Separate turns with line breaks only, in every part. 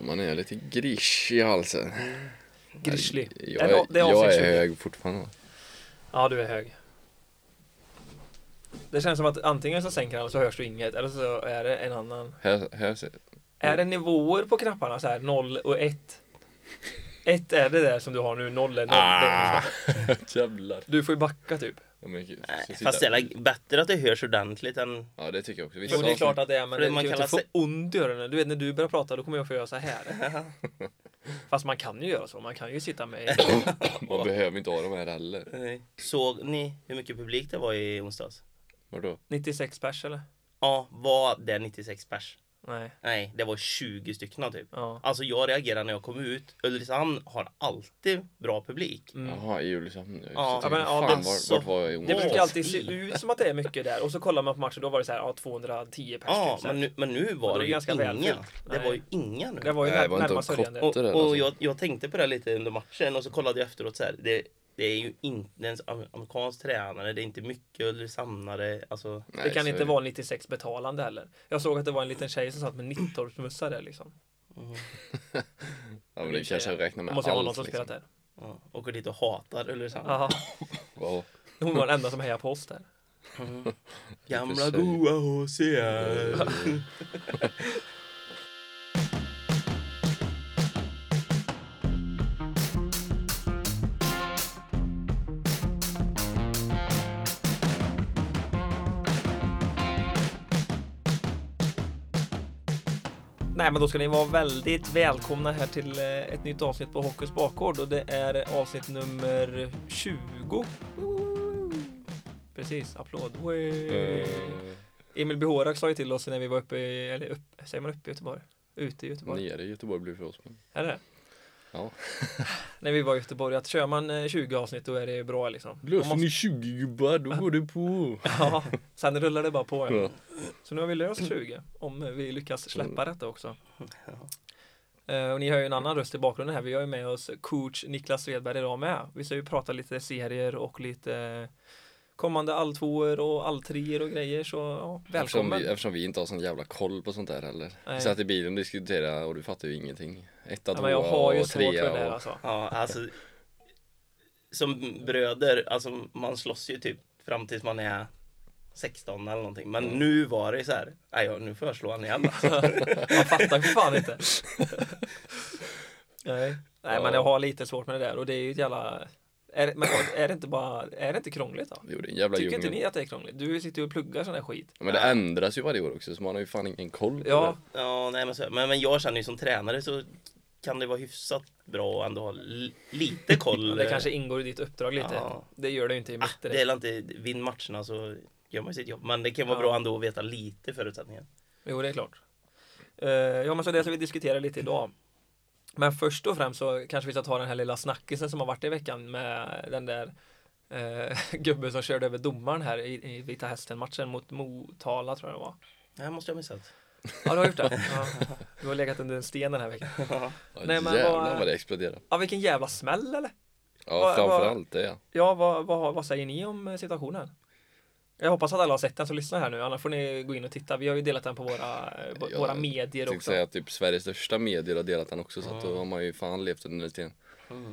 man är lite grisch i halsen.
Grizzly.
Jag
Det är-
är,
det är
jag är
avsnitt 20.
hög fortfarande.
Ja, du är hög. Det känns som att antingen så sänker han eller så hörs du inget eller så är det en annan.
Här, här ser
Är det nivåer på knapparna så här 0 och 1? 1 är det där som du har nu, 0 är 0.
Ah! Jävlar.
Du får ju backa typ.
Ja, men, gud,
Nej,
sitta.
fast det är väl bättre att det hörs ordentligt än...
Ja, det tycker jag också. Vissa
Jo, det är
avsnitt-
klart att det är, men
För det
det,
man
man kan
kallar
inte få
sig-
ont i öronen. Du vet, när du börjar prata, då kommer jag få göra så här. Fast man kan ju göra så. Man kan ju sitta med...
Man behöver inte ha de här heller.
Nej. Såg ni hur mycket publik det var i onsdags?
Vadå?
96 pers, eller?
Ja, var det 96 pers?
Nej.
Nej, det var 20 stycken typ.
Ja.
Alltså jag reagerar när jag kommer ut. Ulricehamn har alltid bra publik.
Mm.
Jaha, i Ulricehamn.
Ja,
Så
men,
tänkte,
ja,
fan,
alltså,
vart, vart var jag i
Det
onsdags?
brukar alltid se
Åh.
ut som att det är mycket där. Och så kollar man på matchen, då var det så här, ja, 210 pers.
Ja,
typ, så här.
men nu, men nu
Och
var
då
det
är
ju
ganska
inga.
välfyllt.
Det
Nej.
var ju inga nu.
Det var ju
Nej, det
när,
var inte
närmast
en
sörjande.
kotte där
Och
alltså.
jag, jag tänkte på det lite under matchen och så kollade jag efteråt så här. Det, det är ju inte ens am- amerikansk tränare, det är inte mycket Ulricehamnare. Alltså,
Nej,
Det kan
så är
inte vara 96 betalande heller. Jag såg att det var en liten tej som satt med Nittorpsmössa där liksom.
Ja, men det kanske jag räknar med
Måste jag ha någon
allt. liksom.
som spelat där.
ja, åker dit och hatar Ulricehamn.
Aha.
Wow.
Hon var den enda som hejade på oss där.
Gamla
Lite
goa HCR.
Nej, men då ska ni vara väldigt välkomna här till eh, ett nytt avsnitt på Hockeys bakgård och det är avsnitt nummer 20. Precis, applåd. Eh,
Mm. Eh,
Emil Behorak sa ju till oss när vi var uppe i, eller upp, säger man uppe i Göteborg? Ute i
Eh,
Göteborg?
Nere i Göteborg blir det för oss. Men.
Är det?
Ja.
när vi var i Göteborg, att kör man eh, 20 avsnitt då är det bra liksom. Då
Löser
måste-
ni 20 gubbar, då går det på.
Ja, sen rullar det bara på. Ja.
Ja. Mm.
Så nu har vi löst 20 om vi lyckas släppa detta också. Eh, Och ni hör ju en annan röst i bakgrunden här. Vi har ju med oss coach Niklas Svedberg idag med. Vi ska ju prata lite serier och lite eh, kommande all tvåor och all treor och grejer. Så ja,
Eftersom
välkommen!
vi, eftersom vi inte har sån jävla koll på sånt där heller.
Nej.
Vi satt i bilen och diskuterade och du fattar ju ingenting. Etta,
ja, men jag
tvåa
har ju
och
svårt för det där
trea. Och...
alltså.
Ja, alltså. Som bröder, alltså man slåss ju typ fram tills man är 16 eller någonting. Men nu var det så här. Nej, ja, nu får jag slå han igen. Alltså.
Man fattar ju fan inte. Nej. Nej, men jag har lite svårt med det där och det är ju ett jävla är, det- men är det inte bara, är det inte krångligt då?
Jo, det är en jävla
Tycker
djungel.
inte ni att det är krångligt? Du sitter ju och pluggar sån här skit.
Ja, Men det ändras ju varje år också så man har ju fan ingen koll på
Ja,
Ja, nej, men, så, men, men jag känner ju som tränare så kan det vara hyfsat bra och ändå ha li- lite koll.
det kanske ingår i ditt uppdrag lite.
Ja.
Det gör det ju inte i
ah,
mitt
det
direkt.
är inte vinn matcherna så gör man ju sitt jobb. Men det kan vara
Ja.
bra ändå att veta lite förutsättningar.
Jo, det är klart. Eh, ja, men så det ska vi diskutera lite idag. Men först och främst så kanske vi ska ta den här lilla snackisen som har varit i veckan med den där eh, gubben som körde över domaren här i, i Vita Hästen-matchen mot Motala tror jag det var.
Det här måste jag ha missat.
Ja, du har gjort det. Ja. Du har legat under en sten den här veckan.
det.
Nej,
Nej,
men
men Jävlar
vad-
vad det exploderar.
Ja, vilken jävla smäll eller?
Ja,
vad-
framförallt det.
Ja, vad, vad, vad säger ni om eh, situationen? Jag hoppas att alla har sett den som lyssnar här nu, annars får ni gå in och titta. Vi har ju delat den på våra, eh,
Jag
våra medier
Jag tänkte
också.
säga att typ Sveriges största medier har delat den också så att då har man ju fan levt under tiden.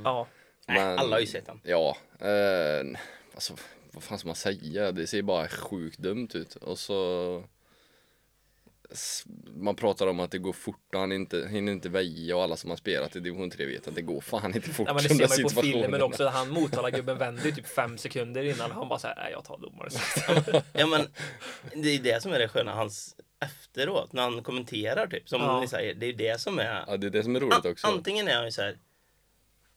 Ja,
Nej,
Men-
alla har ju sett den.
Ja, eh, alltså vad fan ska man säga? Det ser bara sjukt dumt ut. Och så s- man pratar om att det går fort och han inte, hinner inte väja och alla som har spelat i division 3 vet att det går fan inte fort.
Ja men det
som
ser
den
man ju på
situationen
filmen
är.
också, han Motala-gubben vänder ju typ fem sekunder innan han bara såhär, nej jag tar domare.
Ja men det är det som är det sköna hans efteråt när han kommenterar typ som
Ja.
ni säger. Det är det som är.
Ja, det är det som är roligt också.
Antingen är han ju så här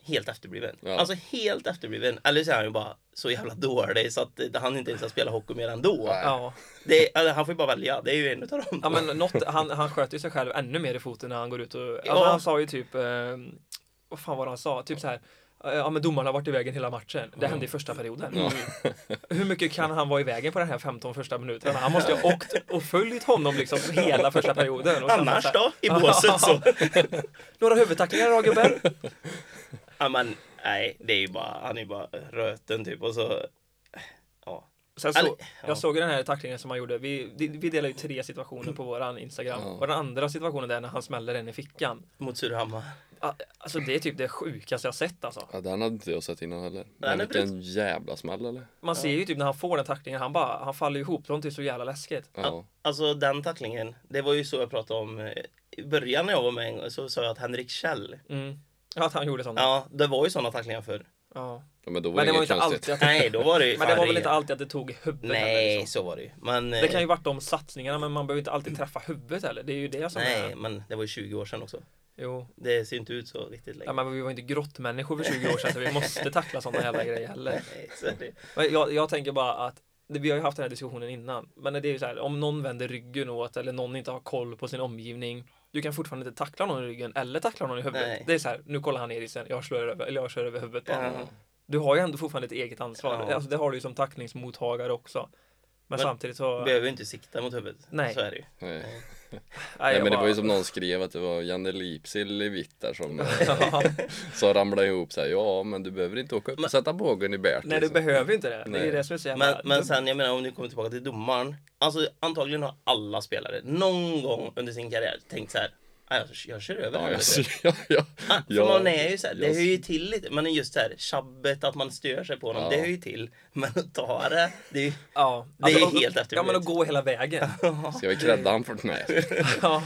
helt efterbliven.
Ja.
Alltså helt efterbliven. Eller så är han ju bara så jävla dålig så att eh, han inte ens har spelat hockey mer ändå.
Nej.
Ja.
Det är, alltså, han får ju bara välja. Det är ju en utav dem.
ja men något, han, han sköter ju sig själv ännu mer i foten när han går ut och, ja.
Ja.
han sa ju typ, eh, vad fan var det han sa, typ så här. eh, Ja men domarna har varit i vägen hela matchen. Det
Mm.
hände i första perioden. Hur mycket kan han vara i vägen på den här 15 första minuterna? Han måste ju ha åkt och följt honom liksom hela första perioden. Och sen bara
Annars
så här,
då? I båset så.
Några huvudtacklingar då gubben?
ja men nej, det är ju bara, han är ju bara röten typ och så. Ja.
Sen så,
Ali- ja.
Jag såg ju den här tacklingen som han gjorde. Vi, vi vi delar ju tre situationer på våran Instagram.
Ja.
Och den andra situationen där när han smäller den i fickan.
mot Surahammar.
Ah, Alltså det är typ det sjukaste jag sett alltså.
Ja, den hade inte jag sett innan heller.
Nej,
Men
men
vilken jävla smäll eller?
Man ser ju typ när han får den tacklingen, han bara, han faller ihop. Det är inte så jävla läskigt.
Ja.
Alltså den tacklingen, det var ju så jag pratade om eh, i början när jag var med en gång så sa jag att Henrik Kjell,
Mm. Ja, att han gjorde sånt. Ja.
ja det var ju sådana tacklingar förr.
ja. Men då var
Men det
det
var ju
inget
inte
konstigt.
alltid att
Nej, då var det ju
Men det var väl
fan
inte
rejält.
alltid att det tog i huvudet heller,
Nej,
liksom.
så var det ju. Men,
Det kan
eh,
ju varit de satsningarna men man behöver inte alltid träffa huvudet heller. Det är ju det som
eh, Nej,
är...
men det var ju 20 år sedan också.
Jo.
Det ser inte ut så riktigt
Ja,
längre.
men vi var ju inte grottmänniskor för 20 år sedan så vi måste tackla sådana jävla grejer heller.
Nej, så är det.
Men jag, jag tänker bara att det- vi har ju haft den här diskussionen innan. Men det är ju så här, om någon vänder ryggen åt eller någon inte har koll på sin omgivning. Du kan fortfarande inte tackla någon i ryggen eller tackla någon i huvudet.
Nej.
Det är så här, nu kollar han ner i sen, jag slår över, eller jag kör över huvudet på honom.
Ja.
Du har ju ändå fortfarande ett eget ansvar.
Ja.
Alltså, det har du ju som tacklingsmottagare också. Men,
Men-
samtidigt så...
Behöver ju inte sikta mot huvudet.
Nej.
Så är det ju.
Nej.
Nej,
Nej,
jag
men det var ju
bara-
som någon skrev att det var Janne Lipsil i vitt där som, eh, som ramlade ihop såhär Ja men du behöver inte åka upp och sätta bågen i bärt
Nej, du
liksom.
behöver inte det. Det
Nej.
är det som är så jävla...
Men, men sen, jag menar om du kommer tillbaka till domaren. Alltså antagligen har alla spelare någon gång under sin karriär tänkt så här. "Ah, Jag, jag kör över
Ja,
här."
jag, ja, ja,
Ah, för
ja,
man är ju så här, det
jag-
hör ju till lite. Men just så här, tjabbet, att man stör sig på honom,
Ja.
det hör ju till. Men att ta det, det är ju...
ja,
det är
och-
helt efterblivet.
Ja, men att gå hela vägen.
Ska vi credda han för nej.
ja.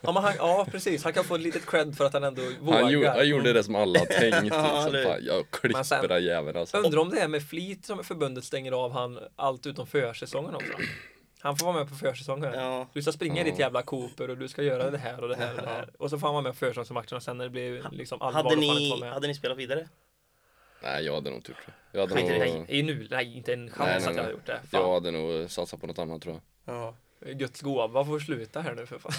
Ja, men han, ja, precis. Han kan få ett litet cred för att han ändå vågar.
Han, gjorde, han gjorde det som alla tänkt liksom.
eller-
Fan, jag klipper
Men sen-
den jäveln alltså.
Undrar om det är med flit som förbundet stänger av han allt utom försäsongen också. Han får vara med på försäsongen.
Ja.
Du ska springa i
Ja.
ditt jävla Cooper och du ska göra det här och det här och det här. Och så får han vara med på försäsongsmatchen och sen när det blir liksom allvar
Hade
då får han inte
ni,
vara med.
hade ni spelat vidare?
Nej jag hade nog inte gjort det. Jag hade
Nej,
nog,
nej, i nu, nej, inte en chans
Nej, nej,
att jag
nej.
hade gjort det. Fan.
jag hade nog satsat på något annat tror jag.
Ja.
Guds gåva får sluta här nu för fan.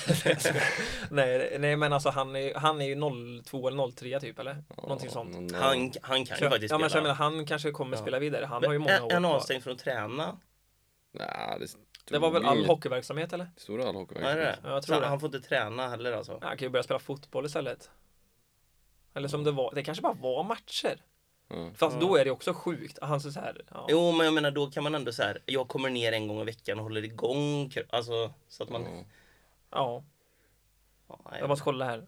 nej, nej men alltså han är, han är ju 02 eller 03 typ eller? Någonting sånt.
någon-
Han, han kan
Så,
ju faktiskt
ja, men så jag
spela.
menar, han kanske kommer
Ja.
spela vidare. Han har ju många
Men är- är han
år kvar.
avstängd från att träna?
Nej, det,
Det var väl
Mm.
all
inget-
hockeyverksamhet eller?
Det stod all hockey.
Ja, är det det?
Ja, jag tror
så
det.
Han får inte träna heller alltså?
Ja, Han kan ju börja spela fotboll istället. Eller som det var, det kanske bara var matcher.
Ja.
Fast
Ja.
då är det också sjukt. Han så så här, ja.
Jo, men jag menar då kan man ändå så här. Jag kommer ner en gång i veckan och håller igång. kro- Alltså så att man.
Ja.
ja,
Ja,
jag måste kolla här.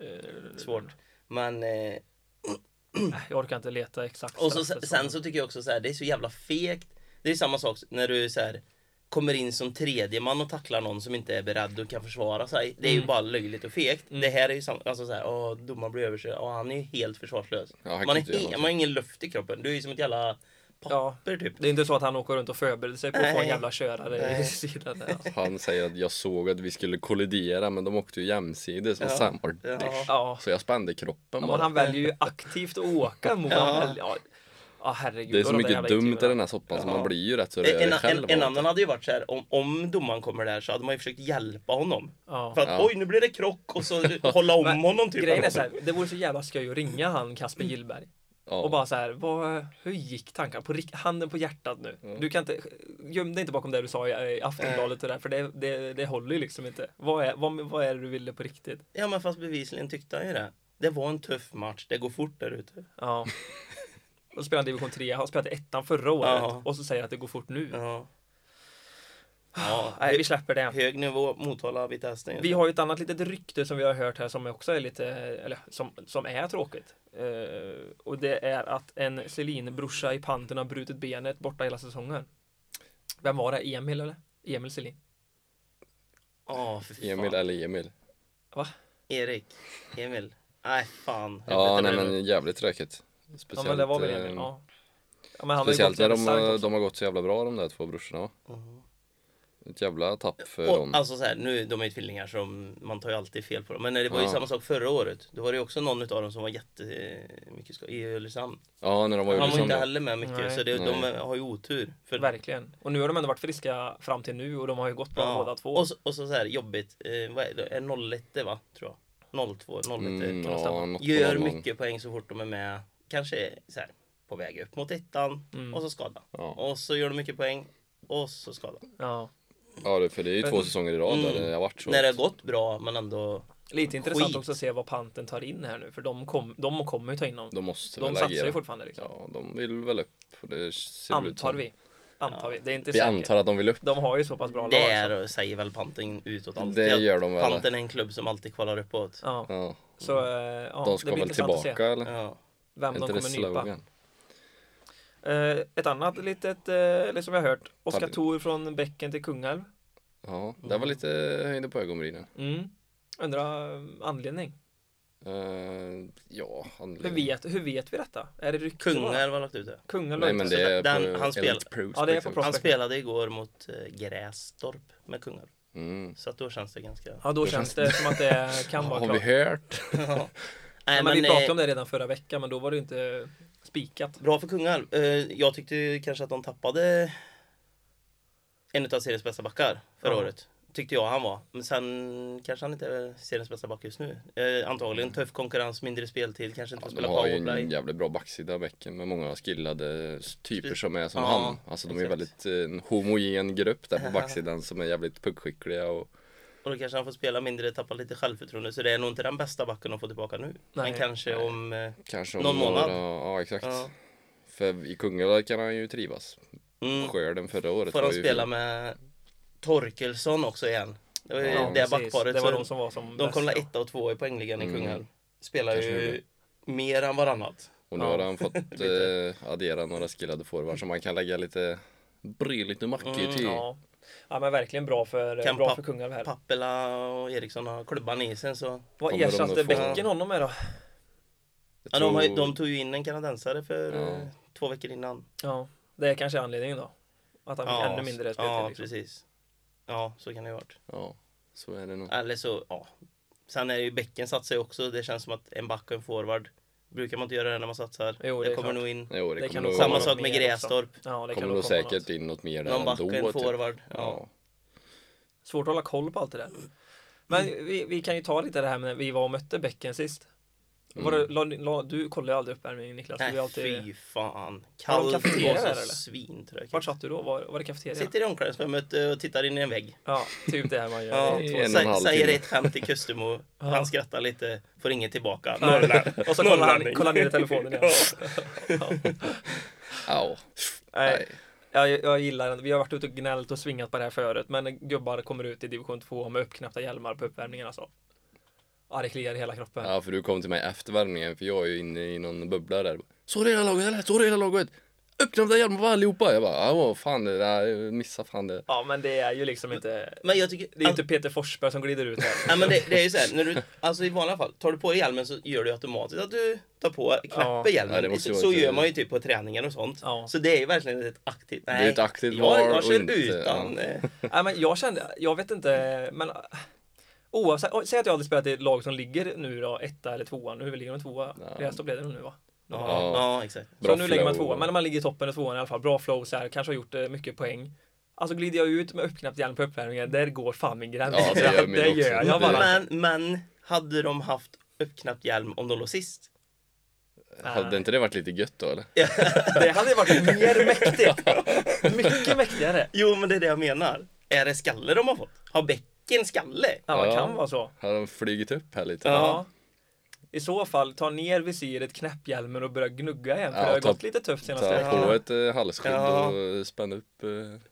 Eh,
Svårt. Men eh,
nej, Jag orkar inte leta exakt.
och så,
straffet som-
sen så tycker jag också så här. Det är så jävla fegt. Det är samma sak när du så här kommer in som tredje man och tacklar någon som inte är beredd och kan försvara sig. Det är ju
Mm.
bara löjligt och fegt.
Mm.
Det här är ju samma, alltså så här, åh, domaren blir överkörd. Åh, han är ju helt försvarslös.
Ja, han kan
man, är
inte göra
he-
någonting.
man har ingen luft i kroppen. Du är ju som ett jävla
Ja.
papper typ.
Det är inte så att han åker runt och förbereder sig på att få en
Nej.
jävla körare i
Nej.
sidan. där, Alltså.
Han säger att jag såg att vi skulle kollidera men de åkte ju jämsides och
Ja.
sen var det
Ja.
Ja.
Så jag spände kroppen
Ja, men
bara.
han väljer ju aktivt att åka mot
Ja.
ja. Ja. ja, herregud.
Det är
och
så
de där
mycket
jävla
dumt i
intervjuerna.
den här soppan så
Ja.
man blir ju rätt så
En,
rörig
en,
själv.
en
av det.
annan hade ju varit så här, om, om domaren kommer där så hade man ju försökt hjälpa honom.
Ja.
För att
Ja.
oj, nu blir det krock och så hålla om
Men
honom typ.
Grejen är så här, det vore så jävla skoj att ringa han Kasper Gillberg.
Ja.
Och bara så här, vad, hur gick tankarna? På, rikt- handen på hjärtat nu. Du kan inte, göm dig inte bakom det du sa i, i Aftonbladet och där, för det, det, det håller ju liksom inte. Vad är, vad, vad är det du ville på riktigt?
Ja, men fast bevisligen tyckte han ju det. Det var en tuff match, det går fort där ute.
Ja. Och spelar han division 3, han spelade ettan förra året
Ja.
och så säger att det går fort nu.
Ja.
Ah,
ja
Nej, vi släpper det.
hög nivå Motala Vitesse. just
Vi
nu.
har ju ett annat litet rykte som vi har hört här som också är lite, eller som, som är tråkigt. Eh, och det är att en Selin-brorsa i Panten har brutit benet borta hela säsongen. Vem var det? Emil eller? Emil Selin?
Ah,
Ja, för fan.
Emil eller Emil.
Erik. Emil. Nej, fan.
Ja,
Helvete,
nej
det
men jävligt tråkigt. Speciellt,
Ja men det var väl
eh,
Emil, ja. ja men han har ju
speciellt
gått
när
väldigt
de, eh,
starkt
har-
också.
de har gått så jävla bra de där två brorsorna.
Mhm.
Ett jävla tapp för
Och,
dem.
alltså så här, nu, de är ju tvillingar så man tar ju alltid fel på dem. Men eh, det var ju
Ja.
samma sak förra året. Då var det ju också någon utav dem som var jättemycket skadad. I Ulricehamn.
Ja, när de var i
Han var
Ulricehamn.
ju inte
då.
heller med mycket.
Nej.
Så det, de eh,
Nej.
har ju otur. För,
Verkligen. Och nu har de ändå varit friska fram till nu och de har ju gått bra båda två.
Och så, och så, så här jobbigt. Eh, vad är det? Är 01 det, va? Tror jag. 02, 01
typ,
Mm,
kan
ja,
det stämma.
något på
Gör
någon gång.
mycket poäng så fort de är med. Kanske så här på väg upp mot ettan
Mm.
och så skada.
Ja.
Och så gör de mycket poäng och så skada.
Ja.
Ja, det- för det är ju två säsonger i rad där
Mm.
det har varit så.
När det har gått bra men ändå.
Lite intressant
Skit.
också att se vad Panten tar in här nu för de, kom, de kommer ju ta in dem.
De måste
De
väl
satsar ju
agera.
fortfarande liksom.
Ja, de vill väl upp. och Det ser väl ut
Antar
som.
vi. Antar vi. Det är inte
Vi
säkert.
antar att de vill upp.
De har ju så pass bra
Det
lag. alltså. så-
är, säger väl Panten utåt alltid.
Det
att
gör de väl.
Panten är en klubb som alltid kvalar uppåt.
Ja,
Ja.
så eh, ja,
De ska
det blir
väl
intressant att se
tillbaka eller?
Ja.
vem de
inte det
kommer nypa.
slogan?
Eh, ett annat litet, eh, liksom jag har hört, Oskar
Aldrig.
Thor från Bäcken till Kungälv.
Ja, det var lite höjde på ögonbrynen.
Mm. Undrar eh, anledning.
Eh, ja,
Hur
anledningen.
vet, hur vet vi detta? Är det rykten?
Kungar har lagt ut det.
Kungälv
Nej men det är
Den-
på
han spelar-
Elite liksom. Prospect.
Ja, det är på
också.
Han
Prospect.
spelade igår mot eh, Grästorp med Kungar.
Mm.
Så att då känns det ganska...
Ja, då känns det som att det kan vara
Har vi
klart.
hört?
Ja.
Nej,
Nej,
men
men,
vi pratade om
eh,
det redan förra veckan, men då var det ju inte spikat.
bra för Kungälv. Eh, jag tyckte ju kanske att de tappade en av seriens bästa backar förra
Ja.
året. Tyckte jag han var. Men sen kanske han inte är seriens bästa back just nu. Eh, antagligen tuff konkurrens, mindre speltid, kanske inte
Ja,
får
de
spela
har ju en
powerplay.
jävligt bra backsida av bäcken med många skillade typer som är som
Typ. Ja,
han. Alltså de är
exakt.
väldigt eh, en homogen grupp där på backsidan som är jävligt puckskickliga och
Och då kanske han får spela mindre, tappa lite självförtroende. Så det är nog inte den bästa backen att få tillbaka nu.
Nej.
Men kanske om... Eh,
kanske om
Någon månad.
några- Ja exakt.
ja.
För i Kungälv kan han ju trivas.
mm.
Skörden förra året
Får han
ju
spela
fin.
med Torkelsson också igen. Det var ju
Ja,
det
precis.
backparet.
Det var
så
de som var som
de
bäst,
kom väl
ja.
etta och tvåa i poängligan i
Mm.
Kungälv. Spelar
Kanske
ju mer än varannat.
Och nu
Ja.
har han fått eh, addera några skillade forwards som man kan lägga lite typ. bryligt och mackigt
Mm,
i.
Ja. ja, men verkligen bra för,
Kan
bra
pa-
för Kungälv här.
Pappela och Eriksson har klubban i sen så.
Vad
Kommer de
ersatte
nog få-
Bäcken honom med då?
Jag
Ja, de, har, ju-
tror-
de tog ju in en kanadensare för
Ja.
eh, två veckor innan.
Ja, det är kanske anledningen då. Att han fick ännu mindre speltid.
Ja,
liksom.
precis. Ja, så kan det ju ha varit.
Ja, så är det nog.
Eller så, ja. Sen är det ju bäcken satsar ju också. Det känns som att en back och en forward. Brukar man inte göra det när man satsar.
Jo, det
det
är
kommer
klart.
nog in.
Jo, det,
det kan
kommer nog,
nog komma
Samma
samma
något
sak med
mer
Grästorp.
Ja, det kan
kommer
nog
nog
komma
säkert
något.
in något mer
Någon back och en
ändå. Typ.
forward. Ja.
Ja.
Svårt att hålla koll på allt det där. Men vi, vi kan ju ta lite det här med vi var och mötte Bäcken sist.
Mm.
Var det, la, la, du kollar ju aldrig uppvärmningen Niklas. du är
Nej,
alltid,
fy fan.
Har de
Kallt
kafeteria
och
där,
så
eller?
svintrögt.
vart satt du då? Var, var det kafeterian?
Sitter i omklädningsrummet eh, och tittar in i en vägg.
Ja, typ det här man gör.
Ja,
Det är-
en och en
sä-
halv
säger
timme.
ett skämt till Kustemo. Han skrattar lite, får inget tillbaka.
Nej.
Norrland.
Och så kollar han,
Norrlänning.
kollar han ner i telefonen igen.
Ja.
Ja.
Ja.
Nej, jag, jag gillar den. Vi har varit ute och gnällt och svingat på det här förut, men gubbar kommer ut i division 2 med uppknäppta hjälmar på uppvärmningen alltså. Ja, det kliar i hela kroppen.
ja, för du kom till mig efter värmningen för jag är ju inne i någon bubbla där. Så är det hela laget eller? Så är det hela laget? Öppna hjälmen på allihopa! Jag bara, ja vad fan det där, missa fan det.
Ja, men det är ju liksom inte...
Men jag tycker...
Det är ju inte Peter Forsberg som glider ut här.
Ja, men det, det är ju så här, när du, alltså i vanliga fall, tar du på dig hjälmen så gör du automatiskt att du tar på, knäpper
Ja.
Ja, det
hjälmen.
måste
så
ju
så
vara ett-
gör man ju typ på träningen och sånt.
Ja.
Så det är ju verkligen ett aktivt... Nej,
ett aktivt
jag,
val
jag
och
kör
inte-
utan...
ja.
eh,
Nej, men jag kände, jag vet inte, men äh, oavsett, och säg att jag hade spelat i ett lag som ligger nu då, etta eller tvåa, nu ligger de tvåa,
Ja.
Grästorp blev det nog nu va? De
Ja,
har-
Ja.
ja, exakt.
så nu lägger man
flow.
tvåa, men om man ligger i toppen och tvåan i alla fall, bra flow så här, kanske har gjort eh, mycket poäng. Alltså glider jag ut med uppknäppt hjälm på uppvärmningen, där går fan min gräns.
Ja, det gör min
det gör
också.
jag bara.
Men, men hade de haft uppknäppt hjälm om de låg sist?
Hade inte det varit lite gött då eller?
Det hade ju varit mer mäktigt. Mycket mäktigare.
Jo, men det är det jag menar. Är det skalle de har fått? Har bäcken skalle?
Ja, man
Ja.
kan vara så.
Hade de flugit upp här lite?
Ja. I så fall, ta ner visiret, knäpp hjälmen och börja gnugga igen. För
Ja,
det har
ta-
gått lite tufft senaste
Ta på
veckorna.
ett eh, halsskydd
Ja.
och spänn upp.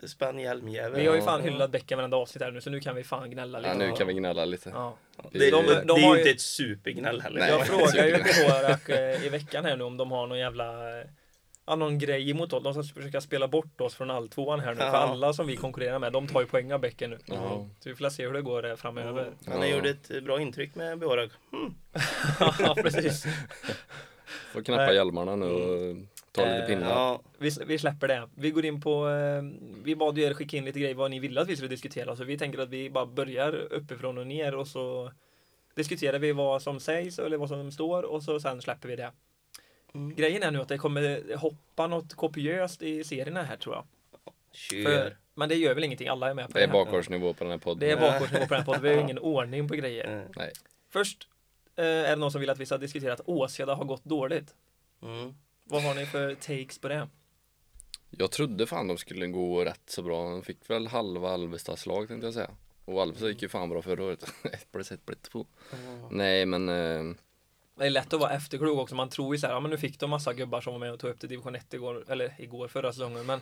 Eh.
Spänn hjälmjävel.
Vi har ju fan hyllat Bäcken varenda avsnitt här nu, så nu kan vi fan gnälla lite.
Ja, nu kan vi gnälla lite.
Ja.
Det,
De-
det,
de
är
har ju-
ju inte ett supergnäll heller.
Nej.
Jag
det är
frågar ju
superkul.
Korak eh, i veckan här nu om de har någon jävla eh, Ja, någon grej emot oss. De ska försöka spela bort oss från all tvåan här nu.
Ja.
För alla som vi konkurrerar med, de tar ju poäng av Bäcken nu.
Ja.
Så vi får se hur det går eh, framöver.
Han har
Ja.
gjort ett bra intryck med Beorag. Mm.
ja, precis.
Får knäppa
Nej.
hjälmarna nu och ta lite
Eh,
pinnar.
Ja.
Vi, sl- vi släpper det. Vi går in på, eh, vi bad ju er skicka in lite grejer vad ni ville att vi skulle diskutera. Så vi tänker att vi bara börjar uppifrån och ner och så diskuterar vi vad som sägs eller vad som står och så sen släpper vi det.
Mm.
Grejen är nu att det kommer hoppa något kopiöst i serierna här tror jag.
Kör.
men det gör väl ingenting, alla är med på det.
Det är
här.
bakgårdsnivå på den här podden.
Det är bakgårdsnivå på den här podden, vi har ju ingen ordning på grejer.
Mm.
Nej.
Först eh, är det någon som vill att vi ska diskutera att Åseda har gått dåligt.
Mm.
Vad har ni för takes på det?
Jag trodde fan de skulle gå rätt så bra. De fick väl halva Alvestads lag tänkte jag säga. Och Alvestad gick ju fan bra förra året. ett plus ett blev två. Nej men eh,
Det är lätt att vara efterklok också. Man tror ju så här, ja men nu fick de massa gubbar som var med och tog upp till division 1 igår, eller igår förra säsongen. Men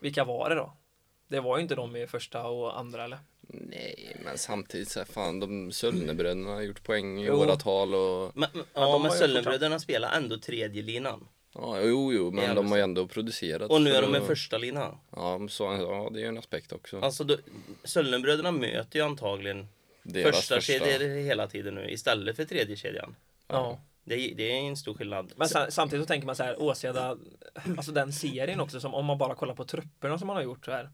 vilka var det då? Det var ju inte de i första och andra eller?
Nej, men samtidigt så här, fan, de Sölnebröderna har gjort poäng i
Jo.
åratal och
Men, men-
de
ja,
har
men
ju
Söllenbröderna spelar ändå tredje linan
ja, jo, jo, men
Jävlar.
de har ju ändå producerat.
Och nu är
så-
de i första linan
Ja, så, ja, det är ju en aspekt också.
Alltså då, Söllenbröderna möter ju antagligen
Deras
första, kedjor hela tiden nu istället för tredje kedjan.
Ja.
Det, det är en stor skillnad.
Men sa- samtidigt så tänker man så här, Åseda, alltså den serien också, som om man bara kollar på trupperna som man har gjort så här.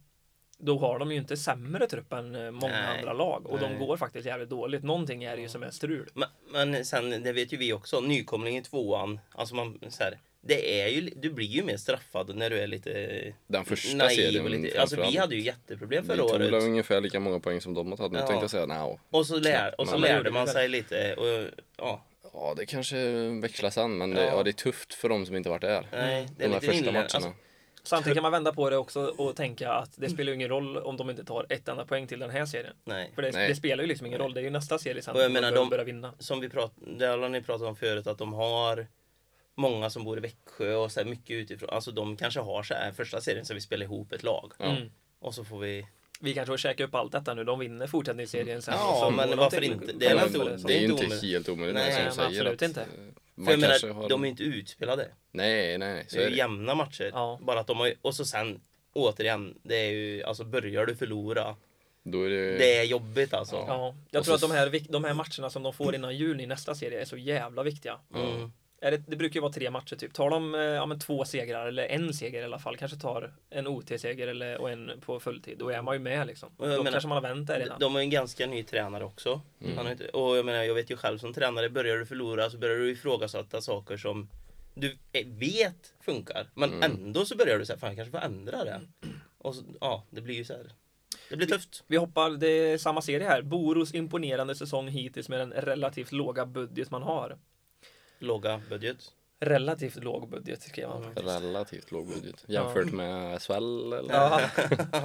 Då har de ju inte sämre trupp än eh, många
Nej.
andra lag och
Nej.
de går faktiskt jävligt dåligt. Någonting är det ju som är strul.
Men, men sen, det vet ju vi också, nykomling i tvåan, alltså man så här, det är ju, du blir ju mer straffad när du är lite
Den första
naiv och
serien
lite, alltså vi
framförallt.
hade ju jätteproblem
Vi
förra
tog väl
året.
ungefär lika många poäng som de har tagit. Nu
Ja.
tänkte jag säga nja.
Och så, lär, och så
Men-
lärde man sig lite och ja,
Ja, det kanske växlas an, men det,
Ja.
ja. det är tufft för de som inte varit där.
nej,
De
det är
här
lite
första
inlärning.
matcherna.
Alltså,
Samtidigt kan man vända på det också och tänka att
Mm.
det spelar ju ingen roll om de inte tar ett enda poäng till den här serien.
nej.
För det,
Nej.
det spelar ju liksom ingen roll. Det är ju nästa serie sen.
Och jag
som
menar,
bör-
de-
börjar vinna.
Som vi prat, det har ni pratat om förut, att de har många som bor i Växjö och så här mycket utifrån. Alltså de kanske har så här första serien så vi spelar ihop ett lag.
Mm.
Och så får vi...
Vi kanske får käka upp allt detta nu. De vinner fortsättningsserien sen.
Ja,
och så
men
går de
varför
till-
inte? Det är väl
till-
inte-
det är ju
inte
inte
omöjligt.
helt omöjligt.
Nej,
som
men
säger
absolut
att,
inte.
eh, Man
För jag
kanske
menar,
har...
de är ju inte utspelade.
Nej, nej, så
Det är
är
ju
det.
Eh, jämna matcher.
Ja.
Bara att de har, och så sen, återigen, det är ju, alltså börjar du förlora,
Då är det...
det är jobbigt alltså.
Eh. Ja.
Ja, jag
Och
tror att
så-
de här, vik- de här matcherna som de får innan jul i nästa serie är så jävla viktiga.
Mm.
Är det, det brukar ju vara tre matcher typ. Tar de eh, ja, men två segrar eller en seger i alla fall, kanske tar en OT-seger eller, och en på fulltid, då är man ju med liksom. Då
Och jag menar-
kanske man har vänt där
De-
redan.
De har ju en ganska ny tränare också.
Mm.
Han har inte, och jag menar, jag vet ju själv som tränare, börjar du förlora så börjar du ifrågasätta saker som du eh, vet funkar. Men
Mm.
ändå så börjar du säga, fan jag kanske får ändra det. Och så, ja, det blir ju så här. Det blir tufft.
Vi hoppar, det är samma serie här. Boros imponerande säsong hittills med den relativt låga budget man har.
Låga budget.
Relativt låg budget skrev han.
Mm. Relativt låg budget. Jämfört med SHL eller?
Ja,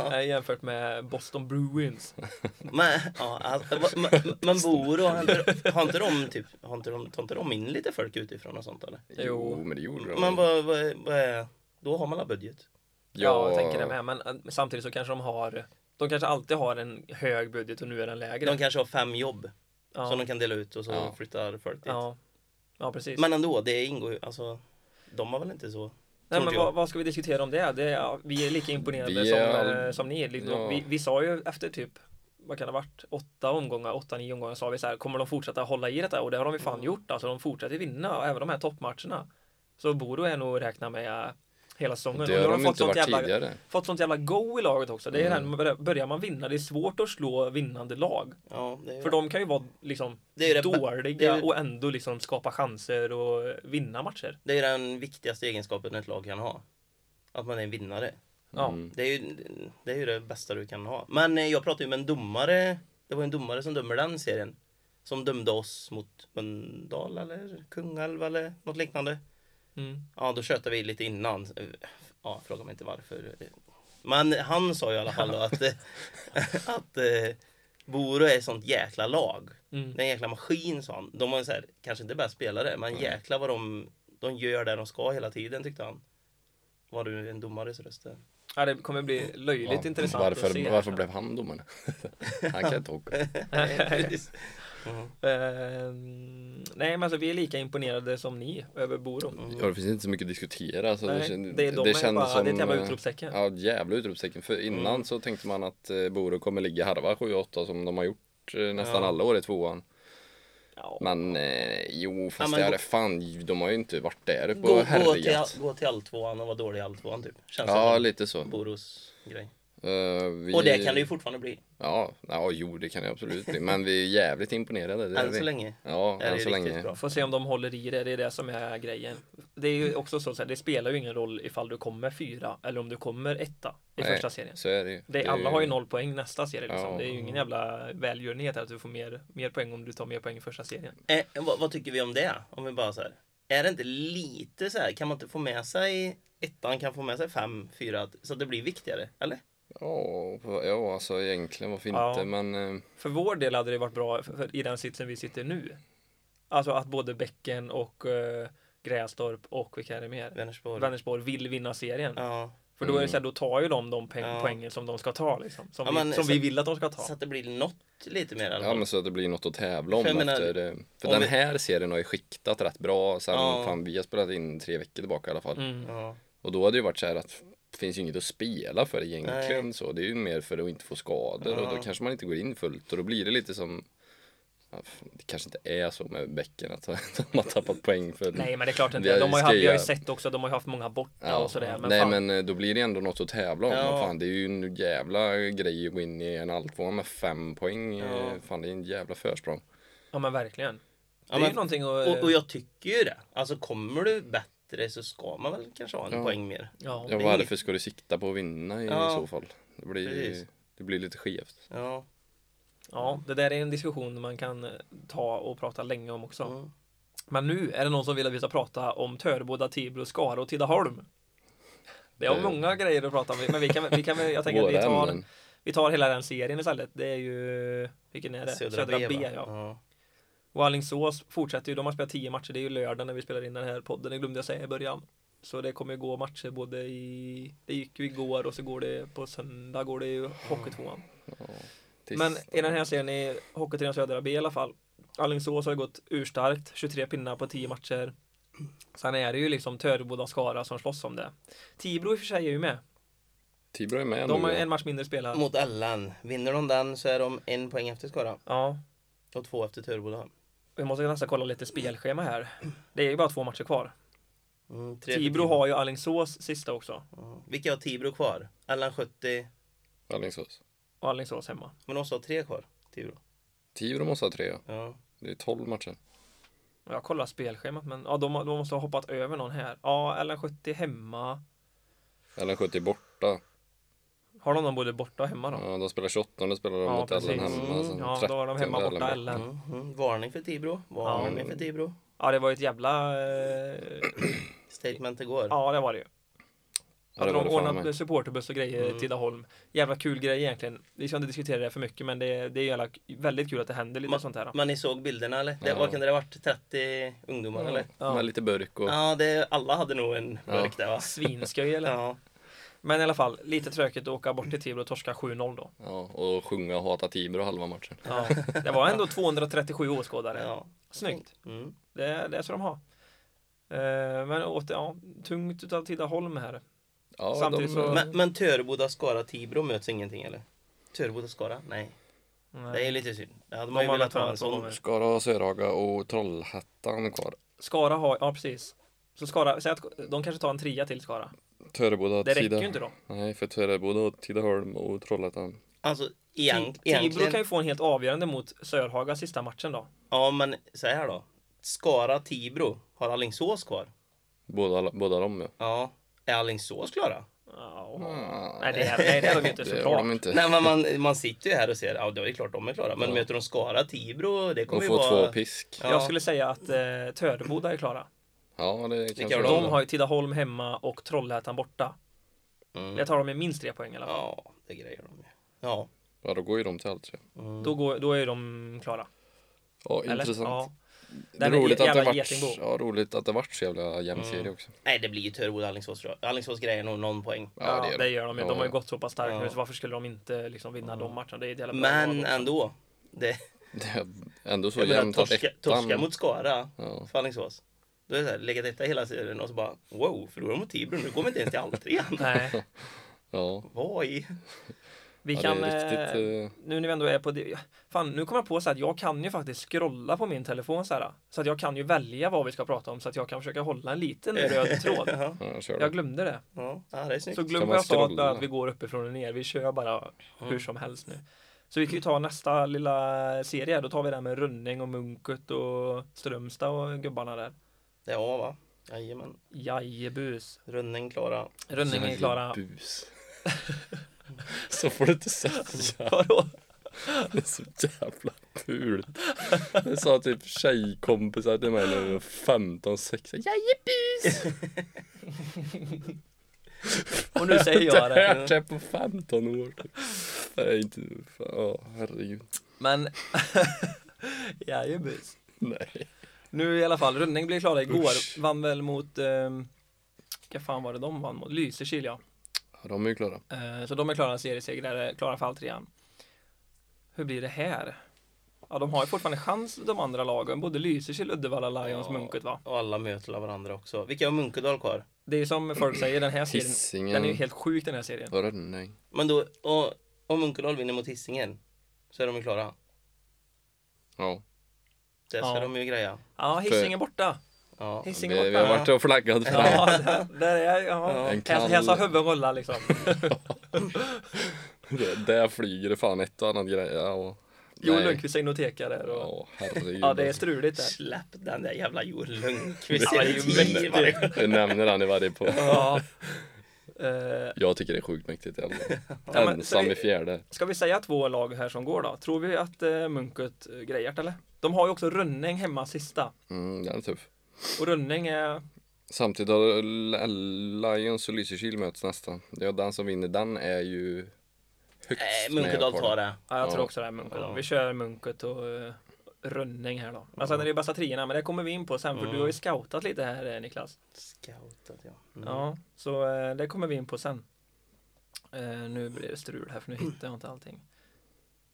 Nej, jämfört med Boston Bruins.
Men, ja, alltså, va- men, men Boro, har inte- har inte de typ, har inte de, tar inte de in lite folk utifrån och sånt eller?
Jo, men det gjorde de.
Men vad, vad, vad är, då har man alla budget.
Ja, jag tänker det med. Men eh, samtidigt så kanske de har de kanske alltid har en hög budget och nu är den lägre.
De kanske har fem jobb
ja.
som de kan dela ut och så
Ja.
flyttar folk dit.
ja. ja, precis.
Men ändå, det ingår ju, alltså de har väl inte så?
Nej,
tror
men
inte jag.
vad, vad ska vi diskutera om det? det är, ja, vi är lika imponerade
Vi
som,
är all-
eh, som ni. är. Liksom,
Ja.
Vi, vi sa ju efter typ vad kan det ha varit? Åtta omgångar, åtta, nio omgångar sa vi så här, kommer de fortsätta hålla i detta? Och det har de ju fan gjort. Alltså de fortsätter vinna, även de här toppmatcherna. Så Bodo är nog att räkna med eh, hela säsongen.
Det
Och nu
har de
fått
inte
sånt
varit
jävla-
tidigare.
Fått sånt jävla go i laget också. Det är mm. börjar man vinna, det är svårt att slå vinnande lag.
Ja, det är,
För de kan ju vara liksom
Det är ju det-
dåliga
det är ju-
och ändå liksom skapa chanser och vinna matcher.
det är den viktigaste egenskapen ett lag kan ha. Att man är en vinnare.
Ja.
Mm.
Det är ju det, är ju det bästa du kan ha. Men eh, jag pratade ju med en domare, det var en domare som dömer den serien. Som dömde oss mot Mölndal eller Kungälv eller något liknande.
Mm.
Ja, då tjötade vi lite innan. Ja, fråga mig inte varför. Men han sa ju i alla fall då att, eh, att eh, Boro är ett sånt jäkla lag.
Mm.
Det är en jäkla maskin sa han. De var så här, kanske inte bäst spelare, men jäkla vad de, de gör det de ska hela tiden tyckte han. Var du en domares röst där?
Ja, det kommer bli löjligt
Ja,
intressant att se.
varför, varför blev han domare? han kan inte åka.
Mm.
Ehm, nej, men alltså vi är lika imponerade som ni över Borum.
Ja, det finns inte så mycket att diskutera. Så Mm. det,
Mm. Nej,
kän-
det är de är
kändes
bara- det är ett jävla
eh,
utropstecken. Mm.
Ja, ett jävla utropstecken. För innan så tänkte man att eh, Boro kommer ligga harva 7-8 som de har gjort eh, nästan alla år i tvåan.
Ja.
Men eh, jo, fast
men
det
gå-
är fan, de har ju inte varit där på
Gå, gå, till,
herrligat.
all- gå till alltvåan och vara dålig i alltvåan typ. Känns
Ja,
som
lite så.
Boros grej.
Eh, vi...
Och det kan det ju fortfarande bli.
Ja, ja, jo det kan det absolut bli. Men vi är jävligt imponerade. Det är
Än
vi.
så länge.
Ja,
Är det
än så
riktigt
länge.
bra.
Får se om de håller i det, det är det som är grejen. Det är ju också så, så här, det spelar ju ingen roll ifall du kommer fyra eller om du kommer etta i
Nej,
första serien.
Så är det ju.
Det,
Det är
alla
ju-
har ju noll poäng nästa serie liksom.
Ja.
Det är ju ingen jävla välgörenhet att du får mer, mer poäng om du tar mer poäng i första serien.
Eh, vad, vad tycker vi om det? Om vi bara så här. Är det inte lite så här, kan man inte få med sig ettan, kan få med sig fem, fyra, så att det blir viktigare? Eller?
Ja, på- ja, alltså egentligen varför
Ja.
inte? Men eh,
För vår del hade det varit bra för, för, i den sitsen vi sitter nu. Alltså att både Bäcken och eh, Grästorp och vilka är det mer?
Vänersborg.
Vänersborg vill vinna serien.
Ja.
För då är det
Mm.
så här, då tar ju de de peng-
Ja.
poängen som de ska ta liksom. Som,
Ja,
vi,
men
som
så-
vi vill att de ska ta.
Så att det blir något lite mer i alla
Ja
fall.
men så att det blir något att tävla om
För jag menar,
efter eh, För
om
den
vi-
här serien har ju skiktat rätt bra sen
Ja.
fan vi har spelat in tre veckor tillbaka i alla fall
Mm.
Ja.
Och då hade det ju varit så här att det finns ju inget att spela för egentligen
Nej.
så Det är ju mer för att inte få skador och
Ja.
då kanske man inte går in fullt och då blir det lite som ja, f- Det kanske inte är så med bäcken att de har tappat poäng för
Nej men det är klart
Vi
inte.
har ju
De har ju, haft, vi har ju
skrivit-
sett också att de har ju haft många borta
Ja,
och sådär. Men
nej
fan,
men eh, då blir det ändå något att tävla om.
Ja.
Ja. Fan, det är ju en jävla grej att gå in i en alltvåa med fem poäng.
Ja.
Ja. Fan det är en jävla försprång.
Ja men verkligen. det
Ja,
är
men-
ju någonting att...
Och, och jag tycker ju det. Alltså kommer du bättre så ska man väl kanske ha en
Ja.
poäng mer.
ja.
Ja,
det-
varför ska du sikta på att vinna i,
Ja.
så fall? Det blir,
Precis.
det blir lite skevt.
Ja.
ja, det där är en diskussion man kan eh, ta och prata länge om också.
Mm.
Men nu är det någon som vill att vi ska prata om Töreboda, Tibro, Skara och Tidaholm. Det är
Eh.
många grejer att prata om, men vi kan, vi kan väl- jag tänker att vi
Våra
tar,
ämnen.
vi tar hela den serien istället. Det är ju, vilken är det? Södra, B.
va?
ja.
ja.
Och Alingsås fortsätter ju, de har spelat 10 matcher, det är ju lördag när vi spelar in den här podden, det glömde jag säga i början. Så det kommer ju gå matcher både i, det gick ju igår och så går det på söndag går det ju Hockeytvåan.
Tis-
Men i den här serien i Hockeytrean Södra B i alla fall. Alingsås har ju gått urstarkt, 23 pinnar på 10 matcher. Sen är det ju liksom Töreboda och Skara som slåss om det. Tibro i och för sig är ju med.
Tibro är med
De
nu.
har
ja.
en match mindre spelad.
Mot Allan. Vinner de den så är de en poäng efter Skara.
Ja,
Och två efter Töreboda.
vi måste nästan kolla lite spelschema här. Det är ju bara två matcher kvar.
Mm, tre för
Tibro har ju Alingsås sista också.
Ja. Vilka har Tibro kvar? Allan 70.
Alingsås.
Och Alingsås hemma.
Men de måste ha tre kvar. Tibro.
Tibro måste ha tre ja.
Ja.
Det är 12 matcher.
Jag kollar spelschemat men ja, de, de måste ha hoppat över någon här. Ja, LN70 hemma.
Eller 70 borta.
Har de någon både borta och hemma då?
Ja, de spelar 28, då spelar de
Ja,
mot Ellen
precis. Mm,
hemma. Sen
Ja, då har de
30
hemma
Ellen
borta LN.
Mm. Mm. Varning för Tibro. Varning
Ja.
för Tibro.
Ja, det var ju ett jävla... Eh,
Statement igår.
ja, det var det ju.
Ja, det
Hade
var
de
det fan
ordnat
med.
supporterbuss och grejer
Mm.
i Tidaholm. Jävla kul grej egentligen. Vi ska inte diskutera det för mycket men det, det är jävla, väldigt kul att det händer lite
Ma-
sånt här.
Men ni såg bilderna eller? Det,
Ja.
Vad kan det ha varit? 30 ungdomar eller?
Ja.
Ja. Med lite burk och...
Ja, det, alla hade nog en
Ja.
burk där va?
Svinsköj eller?
Ja.
Men i alla fall, lite tråkigt att åka bort till Tibro och torska 7-0 då.
Ja, och sjunga och hata Tibro halva matchen.
Ja. Det var ändå 237 åskådare.
ja.
Snyggt.
Mm.
Det, det ska de ha. Eh, Men åter, ja, tungt utav Tidaholm här.
Ja,
Samtidigt
de,
så-
Men, men Töreboda, Skara, Tibro möts ingenting eller? Töreboda, Skara? Nej. Det är lite synd. Ja, de har ju
har
velat ha en
velat ha en
sån.
sån.
Skara, Sörhaga och Trollhättan kvar.
Skara har, ja precis. Så Skara, säg att de kanske tar en trea till Skara.
Töreboda,
Det räcker
Tida-
ju inte då.
Nej, för Töreboda, Tidaholm och Trollhättan.
Alltså,
Ti-
egent,
Tibro
egentligen.
kan ju få en helt avgörande mot Sörhaga sista matchen då.
Ja, men så här då. Skara, Tibro. Har Alingsås kvar?
Båda, båda de ja.
Ja. Är Alingsås klara?
Ja,
Ah,
Nej, det är, nej, det är de ju inte
det har
såklart.
de inte.
Nej, men man, man sitter ju här och ser. Ja, det är klart de är klara. Men
Ja.
möter de Skara, Tibro? Det
De
kommer ju
får
vara...
två pisk. Ja,
Ja.
Jag skulle säga att eh, Töreboda är klara.
det kanske
gör
de,
De
har.
har ju Tidaholm hemma och Trollhättan borta.
Mm.
Det tar de med minst tre poäng i alla fall.
Ja, det grejer de ju. Ja.
Ja, då går ju de till allt tre.
Mm.
Då, går, då är de klara.
Ja,
Eller?
intressant.
Ja.
Det är
Nej, men
roligt att det,
jävla
vart,
Getingbo.
ja, roligt att det vart så jävla jämn serie också.
Nej, det blir ju Töreboda, Alingsås. tror jag. Alingsås grejer nog någon poäng.
Ja, det gör de ju. De har ju
Ja,
gått så pass starkt
Ja.
nu så varför skulle de inte liksom vinna de matcherna? Det är ett jävla bra lag
Men
också.
ändå. Det,
det är ändå så
jag menar,
jämnt att
torska, torska
ettan...
mot Skara
Ja.
för Alingsås. Då är det så här, legat etta hela serien och så bara wow, förlorar mot Tibro, nu går vi inte ens till alltrean.
Nej,
Ja,
Vad i?
vi
ja,
kan...
det är
eh,
riktigt... eh,
Nu när vi ändå är på det. Fan, nu kommer jag på så att jag kan ju faktiskt scrolla på min telefon så här. Så att jag kan ju välja vad vi ska prata om så att jag kan försöka hålla en liten röd tråd.
Ja,
Ja, kör
Jag
då.
glömde det.
ja, ja, det är snyggt.
Så glöm
Kan
vad
man
jag sa att,
scrolla?
att vi går uppifrån och ner. Vi kör bara hur som helst nu. Så vi kan ju ta nästa lilla serie. här. Då tar vi den med Rönning och Munket och Strömstad och gubbarna där.
Det är A va? Jajamän.
Jajebus.
Rönning, Klara.
Rönning är klara.
Bus. så får du inte säga.
Vadå?
Det är så jävla fult. Det sa typ tjejkompisar till mig när jag var 15, 16. Jag är bus!
Och nu säger
Jag har
jag
inte
det.
hört det på 15 år. Det är inte... Ja, herregud.
Men... Jajebus.
Nej.
Nu i alla fall, Rönning blev klara igår. Vann väl mot, eh, vilka fan var det de vann mot? Lysekil ja.
Ja, de är ju klara.
Eh, så de är klara seriesegrare, klara för alltrean. Hur blir det här? Ja, de har ju fortfarande chans de andra lagen. Både Lysekil, Uddevalla, Lions,
Ja.
Munket va?
Och alla möter varandra också. Vilka har Munkedal kvar?
Det är ju som folk säger, den här serien, den är ju
Hisingen
helt sjuk den här serien.
och Rönning.
Men då, och, om Munkedal vinner mot Hisingen så är de ju klara.
Ja,
Det ska
Ja.
de ju greja.
Ja, Hisingen borta!
Ja.
vi,
Hisingen
vi
borta.
har varit och flaggat för det.
Ja, där, där är jag. Ja.
En
Här,
kall,
här sa huvuden rulla liksom.
där- där flyger det fan ett och annat grejer. Ja,
Joel
nej.
Lundqvist signoteka där och...
Ja, herregud.
Ja, det är struligt där.
Släpp den där jävla Joel
Ja, det är ju mäktigt.
Lundqvist.
Vi nämner han i varje på.
Ja. Eh,
Jag tycker det är sjukt mäktigt i alla fall.
Ja, men, så
Ensam
vi-
i fjärde.
ska vi säga två lag här som går då? Tror vi att eh, Munket eh, grejar det, eller? De har ju också Rönning hemma sista.
Mm, den är tuff.
Och Rönning är...
Samtidigt har L- Lions och Lysekil möts nästan. Ja, den som vinner den är ju högst
Nej,
med
Munkedal
kvar.
tar det.
Ja, jag
Ja.
tror också det är Munket. då.
Ja.
Vi kör Munket och eh, Rönning här då. Men sen är det ju bästa treorna, men det kommer vi in på sen. För
Mm.
du har ju scoutat lite här eh, Niklas.
Scoutat ja. Mm.
Ja, så eh, det kommer vi in på sen. Eh, nu blir det strul här för nu hittar jag inte allting.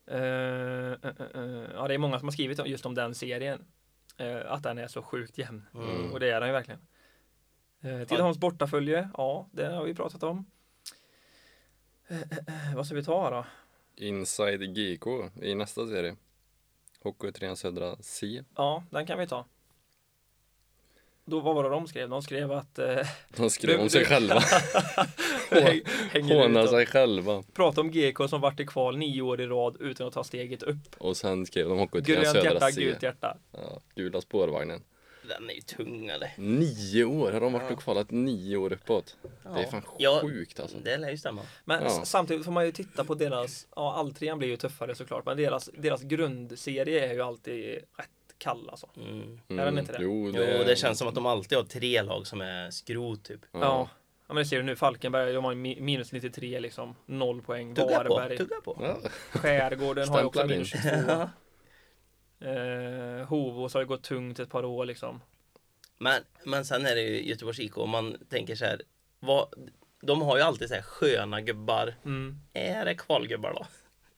Eh, eh, eh, eh. ja, det är många som har skrivit om- just om den serien. Eh, att den är så sjukt jämn.
Mm.
Och det är den ju verkligen. Eh, Tidaholms bortafölje, ja, det har vi pratat om. Eh, eh, eh, vad ska vi ta då?
Inside GK i nästa serie. Hockeyetrean Södra C.
Ja, den kan vi ta. Då, vad var det de skrev? De skrev att eh,
De skrev
Du-
om sig
du-
själva.
häng- hänger
Hånar
ut och,
sig själva.
Prata om GK som vart i kval nio år i rad utan att ta steget upp.
Och sen skrev de Hockeyetrean
Grönt
Södra
hjärta,
C.
gult hjärta.
Ja, gula spårvagnen.
Den är ju tung eller?
Nio år har de varit och kvalat nio år uppåt. Det är
Ja.
fan
Ja.
sjukt alltså.
Det lär ju stämma.
Men
Ja.
s- samtidigt får man ju titta på deras, ja alltrean blir ju tuffare såklart, men deras, deras grundserie är ju alltid rätt kall alltså.
Mm.
Är den inte det?
Jo,
Jo,
det,
det känns som att de alltid har tre lag som är skrot typ.
Ja. ja. men det ser du nu, Falkenberg, de har ju mi- minus 93 liksom, noll poäng.
Tugga på,
Varberg,
tugga på.
Ja.
Skärgården har ju också
Stämplar
minus
in.
22. Eh, Hovås har ju gått tungt ett par år liksom.
Men, men sen är det ju Göteborgs IK och man tänker så här. Vad, de har ju alltid så här sköna gubbar.
Mm.
Är det kvalgubbar då?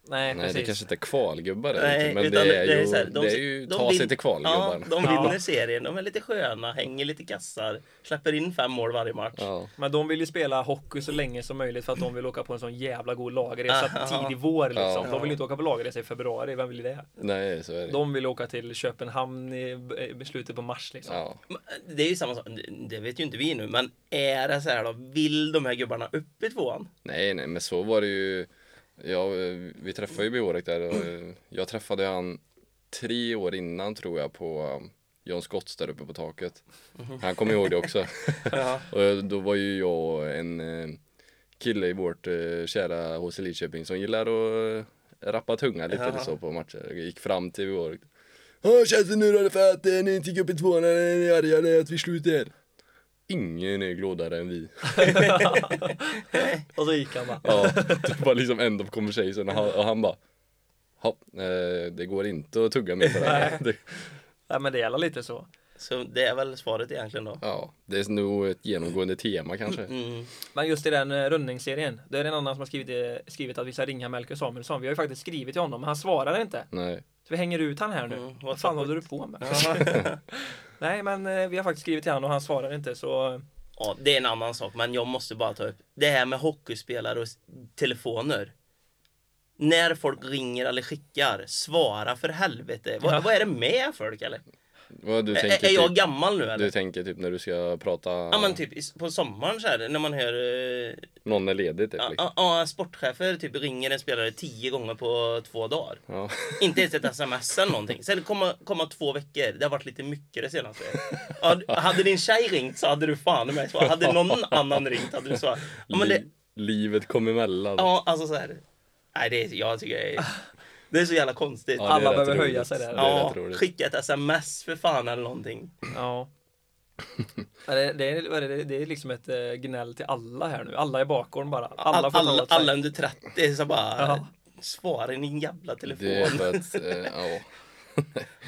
Nej,
Nej, det
precis.
kanske inte är kvalgubbar är
Nej,
det inte, men
utan
det är, ju,
så här,
det är ju
de
ta
vin-
sig till kvalgubbarna.
Ja, de
Ja.
vinner serien. De är lite sköna, hänger lite kassar, släpper in fem mål varje match.
Ja.
Men de vill ju spela hockey så länge som möjligt för att de vill åka på en sån jävla god lagresa tidig vår liksom.
Ja.
De vill inte åka på lagresa i februari, vem vill det?
Nej, så är det.
De vill åka till Köpenhamn i i slutet på mars liksom.
Ja.
Men eh, Det är ju samma sak, det vet ju inte vi nu, men är det så här då, vill de här gubbarna upp i tvåan?
Nej, nej, men så var det ju. Ja, eh, vi träffade ju Bjorek där och eh, jag träffade han tre år innan tror jag på um, John Scotts där uppe på taket. Han kommer ihåg det också.
Ja.
och då var ju jag och en eh, kille i vårt eh, kära HC Lidköping som gillar att eh, rappa tunga lite eller så på matcher. Gick fram till Bjorek. Hur känns det nu då för att eh, ni inte gick upp i tvåan? Är ni argare att vi slutar? Ingen är gladare än vi.
Och så gick han bara.
Ja, det var liksom end of conversation och han, och han bara Ja, eh, det går inte att tugga mer på det här. Det,
Nej men det gäller lite så.
Så det är väl svaret egentligen då.
ja, det är nog ett genomgående tema kanske.
Mm.
Men just i den eh, rundningsserien. Då är det en annan som har skrivit, eh, skrivit att vi ska ringa Melker Samuelsson. Vi har ju faktiskt skrivit till honom men han svarar inte.
Nej,
Så vi hänger ut han här nu.
Mm,
Vad fan
what's up?
håller du på med? Nej men eh, vi har faktiskt skrivit till honom och han svarar inte så.
Ja, det är en annan sak, men jag måste bara ta upp det här med hockeyspelare och s- telefoner. När folk ringer eller skickar, svara för helvete. Vad,
Ja.
vad är det med folk eller?
vad du
Är,
tänker
är jag
typ,
gammal nu
du
eller?
tänker typ när du ska prata,
Ja men typ i- på sommaren så här när man hör eh,
någon är ledig typ.
ja,
Liksom.
ja, ja, sportchefer typ ringer en spelare tio gånger på två dagar.
Ja.
Inte ens ett sms eller någonting. Sen komma, komma två veckor, det har varit lite mycket det senaste. Ja, du- hade din tjej ringt så hade du fan i mig svarat. Hade någon annan ringt hade du svarat. Ja, men det,
Li- Livet kom emellan.
ja alltså så här. Nej, det är, jag tycker det är, det är så jävla konstigt.
Ja, det är
alla
rätt
behöver höja
roligt.
sig
Det
där.
är
Ja,
rätt roligt.
skicka ett sms för fan eller någonting.
Ja. Ja, Det, det, är, vad är det, det är liksom ett eh, gnäll till alla här nu. Alla i bakgården bara. Alla
Alla,
får
alla,
ta åt sig.
alla under 30 så bara
Ja.
svara i din jävla telefon.
Det är för att, eh, ja.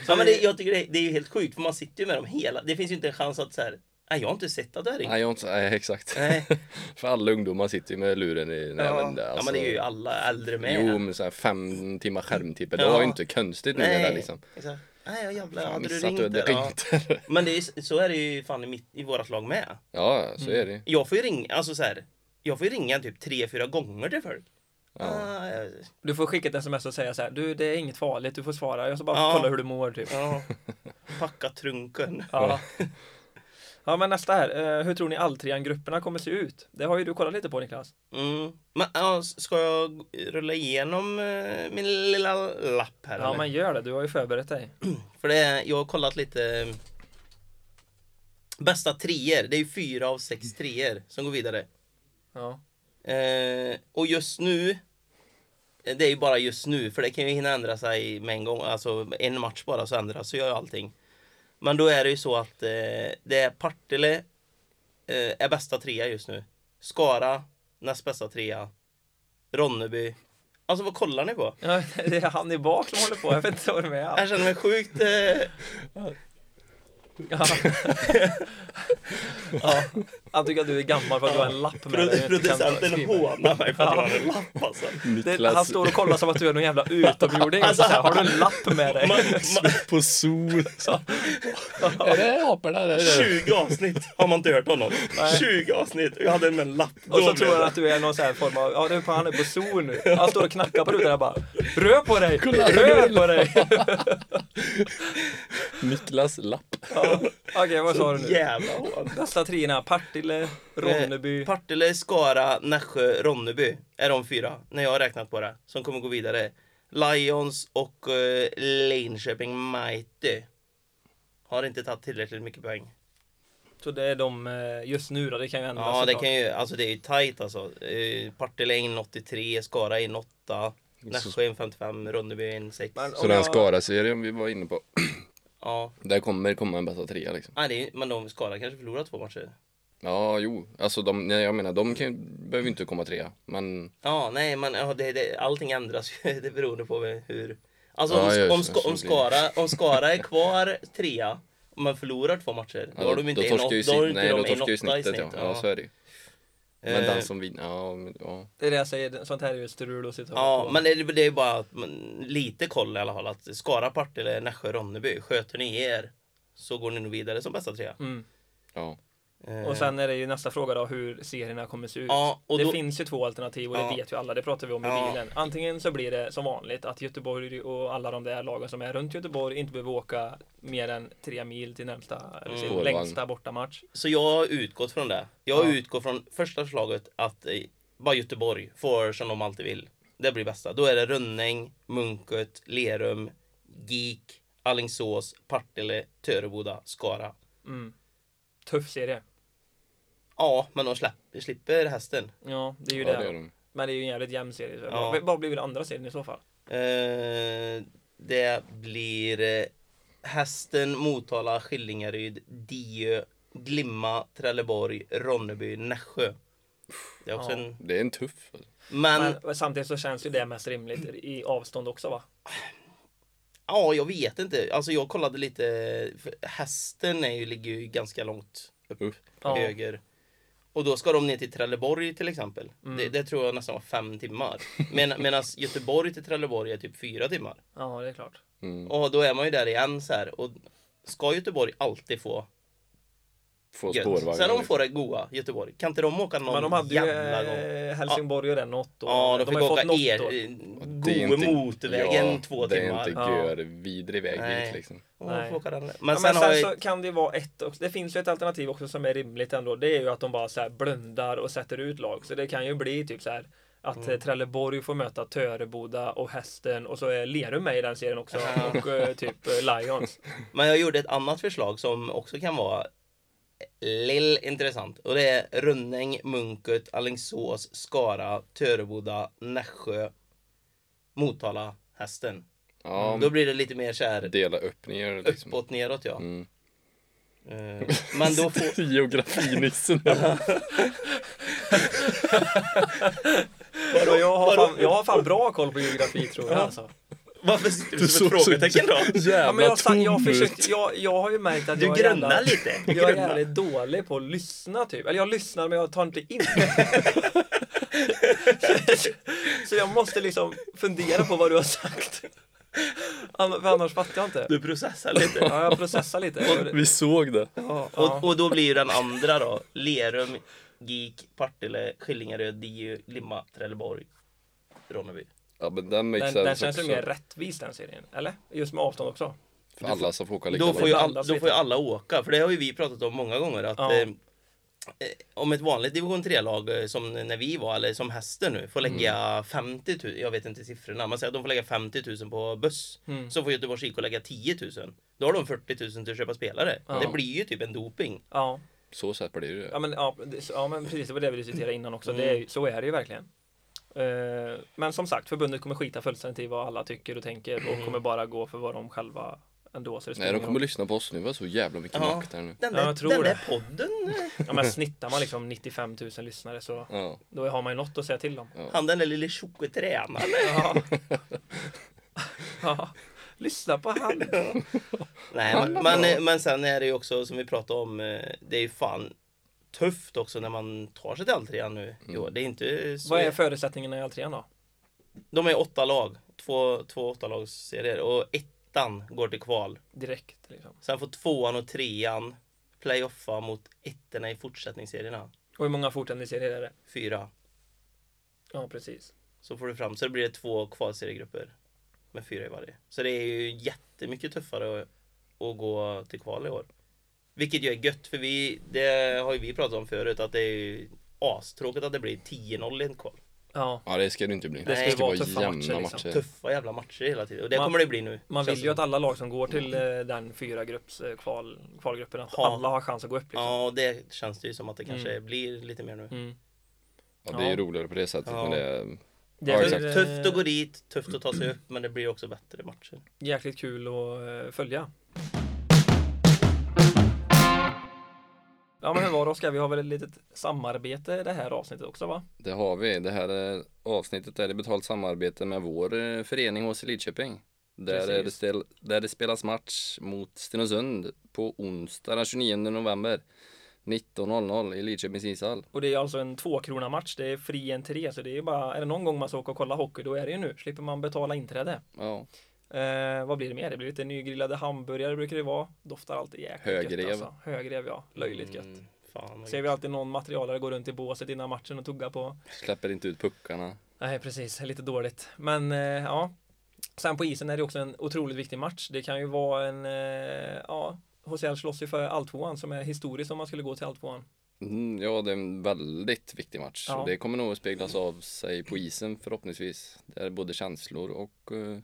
Ja, men det, jag tycker det, det är ju helt sjukt för man sitter ju med dem hela. Det finns ju inte en chans att så här. Nej, jag har inte sett att det här är
Nej, jag har inte, nej exakt.
Nej.
För alla ungdomar sitter ju med luren i näven där.
Ja, men det är ju alla äldre med.
alltså, Jo, men så här fem timmar skärmtid per
Ja.
dag är ju inte konstigt nu när det är liksom.
Exakt. Nej, jag jävlar.
Fan,
Hade du
missat
ringt
du hade
där? Ja.
ringt där.
Men det är, ju- så är det ju fan i, mitt, i vårat lag med.
Ja, så
Mm.
är det ju.
Jag får ju ringa, alltså så här. Jag får ju ringa typ tre, fyra gånger till folk. Ah, jag-
Du får skicka ett sms och säga så här, du det är inget farligt, du får svara, jag ska bara
Ja.
kolla hur du mår typ.
ja. Packa trunken.
Ja. ja men nästa här, Eh, hur tror ni alltrean-grupperna kommer se ut? Det har ju du kollat lite på Niklas.
Mm. Men, ja, s- ska jag rulla igenom eh, min lilla lapp här?
Ja
eller?
men gör det, du har ju förberett dig.
För det är, jag har kollat lite eh, Bästa treor, det är ju fyra av sex treor som går vidare
Ja.
eh, Och just nu eh, Det är ju bara just nu för det kan ju hinna ändra sig med en gång Alltså en match bara så ändras så gör ju allting Men då är det ju så att eh, det är Partille eh, Är bästa trea just nu Skara näst bästa trea Ronneby Alltså vad kollar ni på?
Ja, det är han i bak som håller på, jag vet inte vad det är.
Jag känner mig sjukt eh,
Ja. ja. Han tycker att du är gammal för att du har en lapp med dig. och
Pro-
inte kan
producenten
skriva.
hånar mig för att jag har en lapp alltså.
det, Han står och kollar som att du är någon jävla utomjording.
Alltså,
så här, har du en lapp med dig?
Man, man,
på sol. är det apor där? Är det?
20 avsnitt har man inte hört honom. 20 avsnitt och jag hade en med en lapp.
Och så
Då
tror
blev
han att du är någon sån här form av, ja nu fan han är på zoo nu. Han står och knackar på rutan och bara, rör på dig, rör på dig.
Niklas lapp.
Ja. Okej, vad sa du
det
nu?
jävla hån.
Nästa trina, Partille, Ronneby.
Eh, Partille, Skara, Nässjö, Ronneby är de fyra, när jag har räknat på det, som kommer gå vidare. Lions och eh, Linköping Mighty har inte tagit tillräckligt mycket poäng.
Så det är de eh, just nu då, det kan ju ändras
Ja, det
såklart.
kan ju, alltså det är ju tajt alltså. Eh, Partille är in 83, Skara är in 8, Nässjö är in 55, Ronneby är in 6.
Men-
Så den Skara-serien vi var inne på.
Ja,
Där kommer komma en bästa trea liksom.
Nej, det är, men de Skara kanske förlorar två matcher.
Ja, jo. Alltså de, nej, jag menar, de kan, ju- behöver ju inte komma trea. Men
Ja, nej, men ja, det, det, allting ändras ju. Det beror på hur... Alltså
Ja,
om,
just
om,
det,
Ska-
så
om,
blir det.
Skara, om Skara är kvar trea och man förlorar två matcher, då
ja,
har de inte
då
en
torskar
åt-
ju,
då har
sitt,
inte
nej,
de
då
en
torskar ju
åtta i
snittet ja. ja. så är det ju. Men
Eh,
den som vinner, ja, men- ja.
Det är det jag säger, sånt här är ju strul att sitta och hålla
Ja,
på.
men det, det är ju bara att man, lite koll i alla fall. Att Skara, Partille, Nässjö, Ronneby, sköter ni er så går ni nog vidare som bästa trea.
Mm.
ja.
Eh,
Och sen är det ju nästa fråga då hur serierna kommer se ut.
Ja, och
det
då-
finns ju två alternativ och
Ja.
det vet ju alla, det pratar vi om i
Ja.
bilen. Antingen så blir det som vanligt att Göteborg och alla de där lagen som är runt Göteborg inte behöver åka mer än tre mil till närmsta, eller sin
Spårvagn.
längsta bortamatch.
Så jag har utgått från det. Jag har
Ja.
utgått från första förslaget att eh, bara Göteborg får som de alltid vill. Det blir bästa. Då är det Rönning, Munket, Lerum, Geek, Allingsås, Partille, Töreboda, Skara.
Mm. Tuff serie.
Ja, men de släpper, slipper hästen.
Ja, det är ju
ja,
det.
det är de.
Men det är ju en jävligt jämn serie. Så
Ja.
Vad- Vad blir väl andra serien i så fall?
Eh, det blir eh, Hästen, Motala, Skillingaryd, Diö, Glimma, Trelleborg, Ronneby, Nässjö. Det är också
Ja.
en...
Det är en tuff. alltså.
Men
Men samtidigt så känns ju det mest rimligt i avstånd också va?
Ja, jag vet inte. Alltså jag kollade lite. för Hästen är ju, ligger ju ganska långt upp,
Upp.
Ja.
höger. Och då ska de ner till Trelleborg till exempel.
Mm.
Det, det tror jag nästan var fem timmar. Men, Medan Göteborg till Trelleborg är typ fyra timmar.
Ja, det är klart.
Mm.
Och då är man ju där igen så här. Och ska Göteborg alltid få
Få
gött?
spårvagn.
Sen de
liksom.
får det goa Göteborg. Kan inte de åka någon
Men de hade ju
jävla gång?
eh, Helsingborg och den något då.
Ja, de,
har
fick
ju
åka
fått något
er, eh,
då.
Det är
goe
inte-
motorvägen
ja,
två
det
timmar.
är inte
Ja.
görvidrig väg
Nej.
dit liksom.
Och de
Nej.
får åka den. Men
Men
sen,
ja, men sen,
har jag...
så kan det ju vara ett också. Det finns ju ett alternativ också som är rimligt ändå. Det är ju att de bara så här blundar och sätter ut lag. Så det kan ju bli typ så här att
Mm.
eh, Trelleborg får möta Töreboda och Hästen och så är Lerum med i den serien också.
Ja.
Och eh, typ eh, Lions.
Men jag gjorde ett annat förslag som också kan vara lill intressant. Och det är Rönning, Munket, Alingsås, Skara, Töreboda, Nässjö, Motala, Hästen.
Ja,
Mm, Då blir det lite mer så här
dela upp ner liksom.
uppåt, neråt ja.
Mm.
Eh, Men då får...
Geografinissen.
Och jag, har fan, jag har fan bra koll på geografi tror jag alltså.
Varför sitter du
Du
som ett
såg så
frågetecken då?
Ja, men
jävla
jag, sa- jag,
tom ut.
försökte, jag, jag har ju märkt att
Du
jag är
grunnar
jävla,
lite.
jag är
Grunnar.
jävligt dålig på att lyssna typ. Eller jag lyssnar men jag tar inte in. så jag måste liksom fundera på vad du har sagt. Ann- För annars fattar jag inte.
Du processar lite.
Ja, jag processar lite.
Vi såg det.
Ja,
Och,
ja.
och då blir ju den andra då Lerum, GIK, Partille, Skillingaryd, Diu, Limma, Trelleborg, Ronneby.
Ja men den makes
Den,
sense
den känns ju
också.
mer rättvis den serien. Eller? Just med avstånd också.
För alla som får åka lika
Då får,
långt.
ju
det
all, då
blandas
får ju
liksom, lite.
alla åka, för det har ju vi pratat om många gånger att
Ja.
eh, eh, om ett vanligt division 3-lag eh, som när vi var, eller som Hästen nu, får lägga
Mm.
50 000, jag vet inte siffrorna, man säger att de får lägga 50 000 på buss.
Mm.
Mm.
Så får Göteborgs IK lägga 10 000. Då har de 40 000 till att köpa spelare.
Ja.
Det blir ju typ en doping.
Ja,
Så sätt blir det ju.
ja, men, ja, det- ja men precis, det var det vi diskuterade innan också.
Mm.
Det är, ju- så är det ju verkligen. Eh, Men som sagt, förbundet kommer skita fullständigt i vad alla tycker och tänker och kommer bara gå för vad de själva ändå så det
Mm.
spelar
Nej de
ingen
kommer
roll.
lyssna på oss nu, vi har så jävla mycket
Ja.
makt här nu.
Den
Ja,
där,
jag tror
den där
det.
podden eh,
ja, men snittar man liksom 95 000 lyssnare så
Ja.
då har man ju något att säga till om.
Han den där lille tjocke tränaren.
Ja. ja. Lyssna på han.
Nej, men, eh, men, men sen är det ju också som vi pratade om. eh, Det är ju fan tufft också när man tar sig till alltrean nu. Jo, det är inte så.
Mm. Vad är förutsättningarna i Alltrean då?
De är åtta lag. Två, två åttalagsserier och ettan går till kval.
Direkt liksom.
Sen får tvåan och trean playoffa mot ettorna i fortsättningsserierna.
Och hur många fortsättningsserier är det?
Fyra.
Ja, precis.
Så får du fram, så blir det två kvalseriegrupper med fyra i varje. Så det är ju jättemycket tuffare att, att gå till kval i år. Vilket ju är gött, för vi, det har ju vi pratat om förut, att det är ju astråkigt att det blir 10-0 i en kval.
Ja.
ja det ska det inte bli.
Det
Det
ska
ska, vara
ju vara tuffa
jämna
matcher,
matcher.
liksom.
Tuffa jävla matcher hela tiden, och det
Man-
kommer det bli nu.
Man
känns
vill ju
det
att alla lag som går till eh, den fyra grupps eh, kval, kvalgruppen, att
Ja.
alla har chans att gå upp liksom.
Ja, och det känns det ju som att det kanske blir lite mer nu.
Mm.
Ja, det är ju
Ja.
roligare på det sättet
Ja.
men det är...
Det
Ja,
är eh,
exakt.
Tufft att gå dit, tufft att ta sig upp, men det blir också bättre matcher.
jäkligt kul att eh, följa. Ja men hur var det Oskar? Vi har väl ett litet samarbete i det här avsnittet också va?
Det har vi. Det här är, avsnittet är i betalt samarbete med vår eh, förening HC Lidköping. Där, är det
Precis.
stel, där det spelas match mot Stenungsund på onsdag den 29 november 19.00 i Lidköpings ishall.
Och det är alltså en tvåkrona match. Det är fri entré så det är bara, är det någon gång man ska åka och kolla hockey då är det ju nu. Slipper man betala inträde.
Ja,
Eh, vad blir det mer? Det blir lite nygrillade hamburgare brukar det vara. Doftar alltid jäkligt
Högrev.
gött alltså. Högrev ja, löjligt gött.
Mm, fan vad
Ser
gött.
vi alltid någon materialare gå runt i båset innan matchen och tugga på.
släpper inte ut puckarna.
Nej, precis. Lite dåligt. Men eh, ja. Sen på isen är det också en otroligt viktig match. Det kan ju vara en, eh, ja, HCL slåss ju för alltvåan som är historiskt om man skulle gå till alltvåan.
Mm, ja, det är en väldigt viktig match.
Ja.
Och det kommer nog att speglas av sig på isen förhoppningsvis. Där både känslor och eh,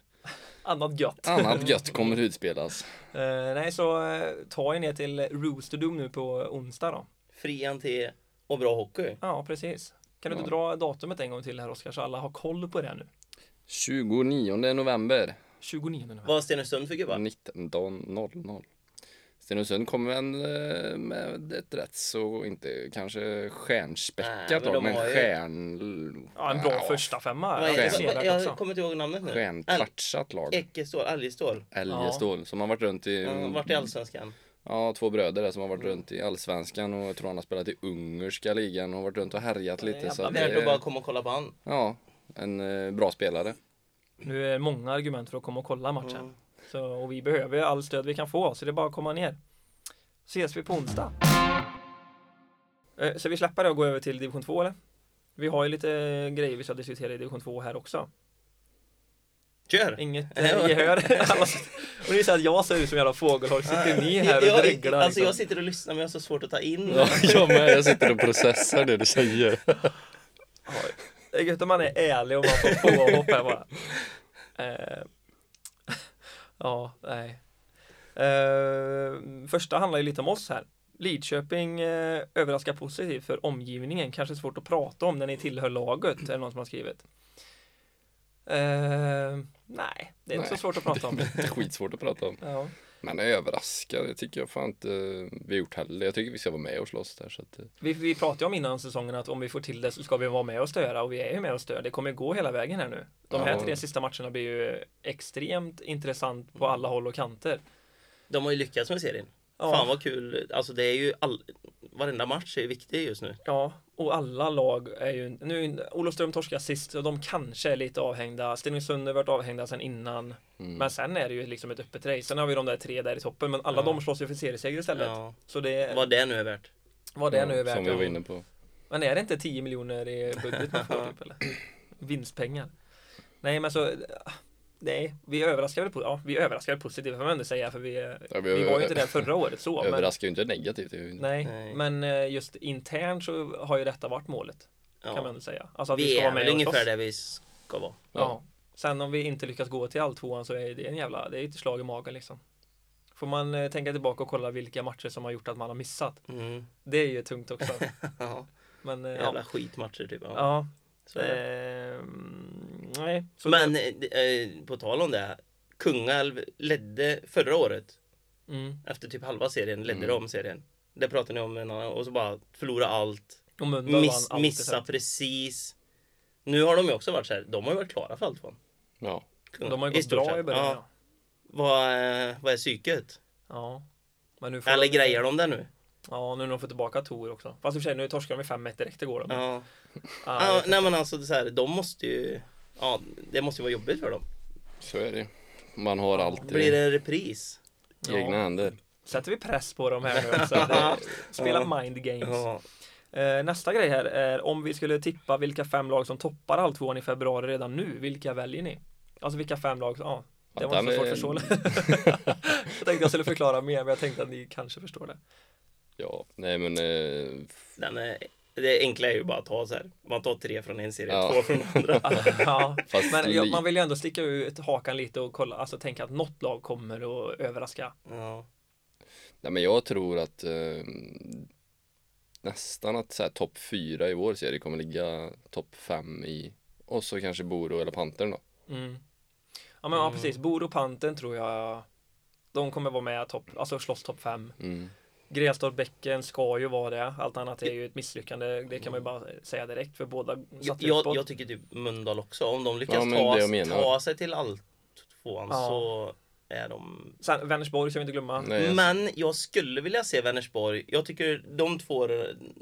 Annat gött.
annat gött kommer utspelas.
Eh, nej, så eh, ta er ner till Roosterdom nu på onsdag då.
Fri entré och bra hockey.
Ja, precis. Kan du inte dra datumet en gång till här Oskar så alla har koll på det nu?
29 november
29 november.
Vad Stenungsund för
Mm.
gubbar?
19.00. Stenungsund kommer väl eh, med ett rätt så inte kanske
Nej,
stjärnspäckat lag,
men de
men
har ju-
stjärn...
Ja, en bra
ja,
första femma.
Vad
Ja,
är
det
det?
är
Stjärn.
som-
sevärt också.
Jag kommer inte ihåg namnet nu. Äl-
Stjärnkvartsat lag.
Eckestål, Algestål.
Mm. Älgestål som har varit runt i...
Mm. Vart i Allsvenskan?
Ja, två bröder där som har varit runt i Allsvenskan och jag tror han har spelat i ungerska ligan och varit runt och härjat lite. Så
Jävla
att
värt att
det
bara
är,
komma och kolla på han.
ja, en eh, bra spelare.
Nu är det många argument för att komma och kolla matchen.
Mm.
Så, och vi behöver ju all stöd vi kan få, så det är bara att komma ner. Ses vi på onsdag. Eh, Så vi släpper det och går över till division 2 eller? Vi har ju lite eh, grejer vi ska diskutera i division 2 här också.
Kör!
Inget eh, gehör. Alla sitter- och nu är det så att jag ser ut som en jävla fågelholk. Sitter ni här och
Jag-
dreglar?
Alltså jag
liksom?
sitter och lyssnar men jag har så svårt att ta in.
Ja, jag med, jag sitter och processar det du säger.
Ja, Det är gött om man är ärlig och man får påhopp här bara. Eh, ja, nej. Eh, första handlar ju lite om oss här. Lidköping eh, överraskar positivt för omgivningen. Kanske svårt att prata om när ni tillhör laget, är det någon som har skrivit. Eh, nej, det är inte så
Nej.
svårt att prata om.
Skitsvårt att prata om.
Ja.
Men överraska, det tycker jag fan inte vi har gjort heller. Jag tycker vi ska vara med och slåss där. Så att, eh,
Vi, vi pratade ju om innan säsongen att om vi får till det så ska vi vara med och störa och vi är ju med och störa. Det kommer gå hela vägen här nu. De här
Ja.
tre sista matcherna blir ju extremt intressant på alla håll och kanter.
De har ju lyckats med serien.
Ja.
Fan vad kul. Alltså det är ju all... Varenda match är ju viktig just nu.
Ja, och alla lag är ju nu Olofström torskar sist och de kanske är lite avhängda. Stenungsund har varit avhängda sedan innan. Men sen är det ju liksom ett öppet race. Sen har vi de där tre där i toppen, men alla
Ja.
de slåss ju för serieseger istället.
Ja.
Så det
Vad det nu är värt.
vad det nu är
ja,
värt.
Som vi var
ja.
inne på.
Men är det inte 10 miljoner i budget man får typ eller? Vinstpengar. Nej men så Nej, vi överraskar väl, po- ja, vi överraskar väl positivt får man ändå säga för vi,
Ja,
vi var ju inte där förra året så. Men,
Överraskar ju inte negativt. det är ju-
nej,
Nej.
men eh, just internt så har ju detta varit målet. Kan man
Ja.
väl säga. Alltså att vi,
Vi
ska vara
är
med
väl
och
ungefär
slåss.
där vi ska vara.
Ja. Sen om vi inte lyckas gå till alltvåan så är det en jävla, det är ett slag i magen liksom. Får man eh, tänka tillbaka och kolla vilka matcher som har gjort att man har missat.
Mm.
Det är ju tungt också.
Ja.
Men eh,
Jävla
ja.
skitmatcher typ. Ja.
ja.
Så är det.
Ehm, nej. Så
Men eh, eh, på tal om det. Kungälv ledde förra året.
Mm.
Efter typ halva serien ledde
Mm.
de om serien. Det pratade ni om innan. Och så bara förlora allt.
Och Mölndal
Miss,
vann allt
missa
istället.
precis. Nu har de ju också varit så här. De har ju varit klara för allt. va?
Ja.
Kungälv,
De har ju
i
gått
stort
bra
sett.
i början.
Ja.
Ja.
Vad, eh, vad är psyket?
ja. Men nu får
Eller
de,
grejer de det nu?
Ja, nu när de får tillbaka Tor också. Fast i och för sig, nu torskade de med 5-1 direkt igår. Då. Ah,
Ja.
Ja, jag
Ja,
vet inte.
nej men alltså det är så här, de måste ju Ja, det måste ju vara jobbigt för dem.
Så är det. Man har alltid
Blir det en repris?
Ja.
egna händer.
Sätter vi press på dem här nu? Alltså, det, spela mind games.
Ja.
Eh, nästa grej här är om vi skulle tippa vilka fem lag som toppar alltvåan i februari redan nu, vilka väljer ni? Alltså vilka fem lag? Ja, det
Att
var inte så svårt
han är-
att förstå. jag tänkte jag skulle förklara mer, men jag tänkte att ni kanske förstår det.
Ja, nej men eh,
Den är, det enkla är ju bara att ta så här. Man tar tre från en serie,
Ja.
två från den andra.
ja,
Fast
men jag,
li-
man vill ju ändå sticka ut hakan lite och kolla, alltså tänka att något lag kommer och överraska.
Ja.
Nej men jag tror att eh, nästan att så här, topp fyra i vår serie kommer ligga topp fem i och så kanske Boro eller Pantern då.
Mm. Ja, men ja, precis. Boro Panten tror jag, de kommer vara med, topp, alltså slåss topp fem.
Mm.
Grästorp Bäcken ska ju vara det. Allt annat är ju ett misslyckande. Det kan man ju bara säga direkt för båda satt ju
Jag,
uppåt.
jag tycker typ Mölndal också. Om de lyckas
Ja, men det jag
ta,
menar.
ta sig till allt tvåan
Ja.
så är de
Sen, Vänersborg ska vi inte glömma.
Nej, jag-
Men jag skulle vilja se Vänersborg. Jag tycker de två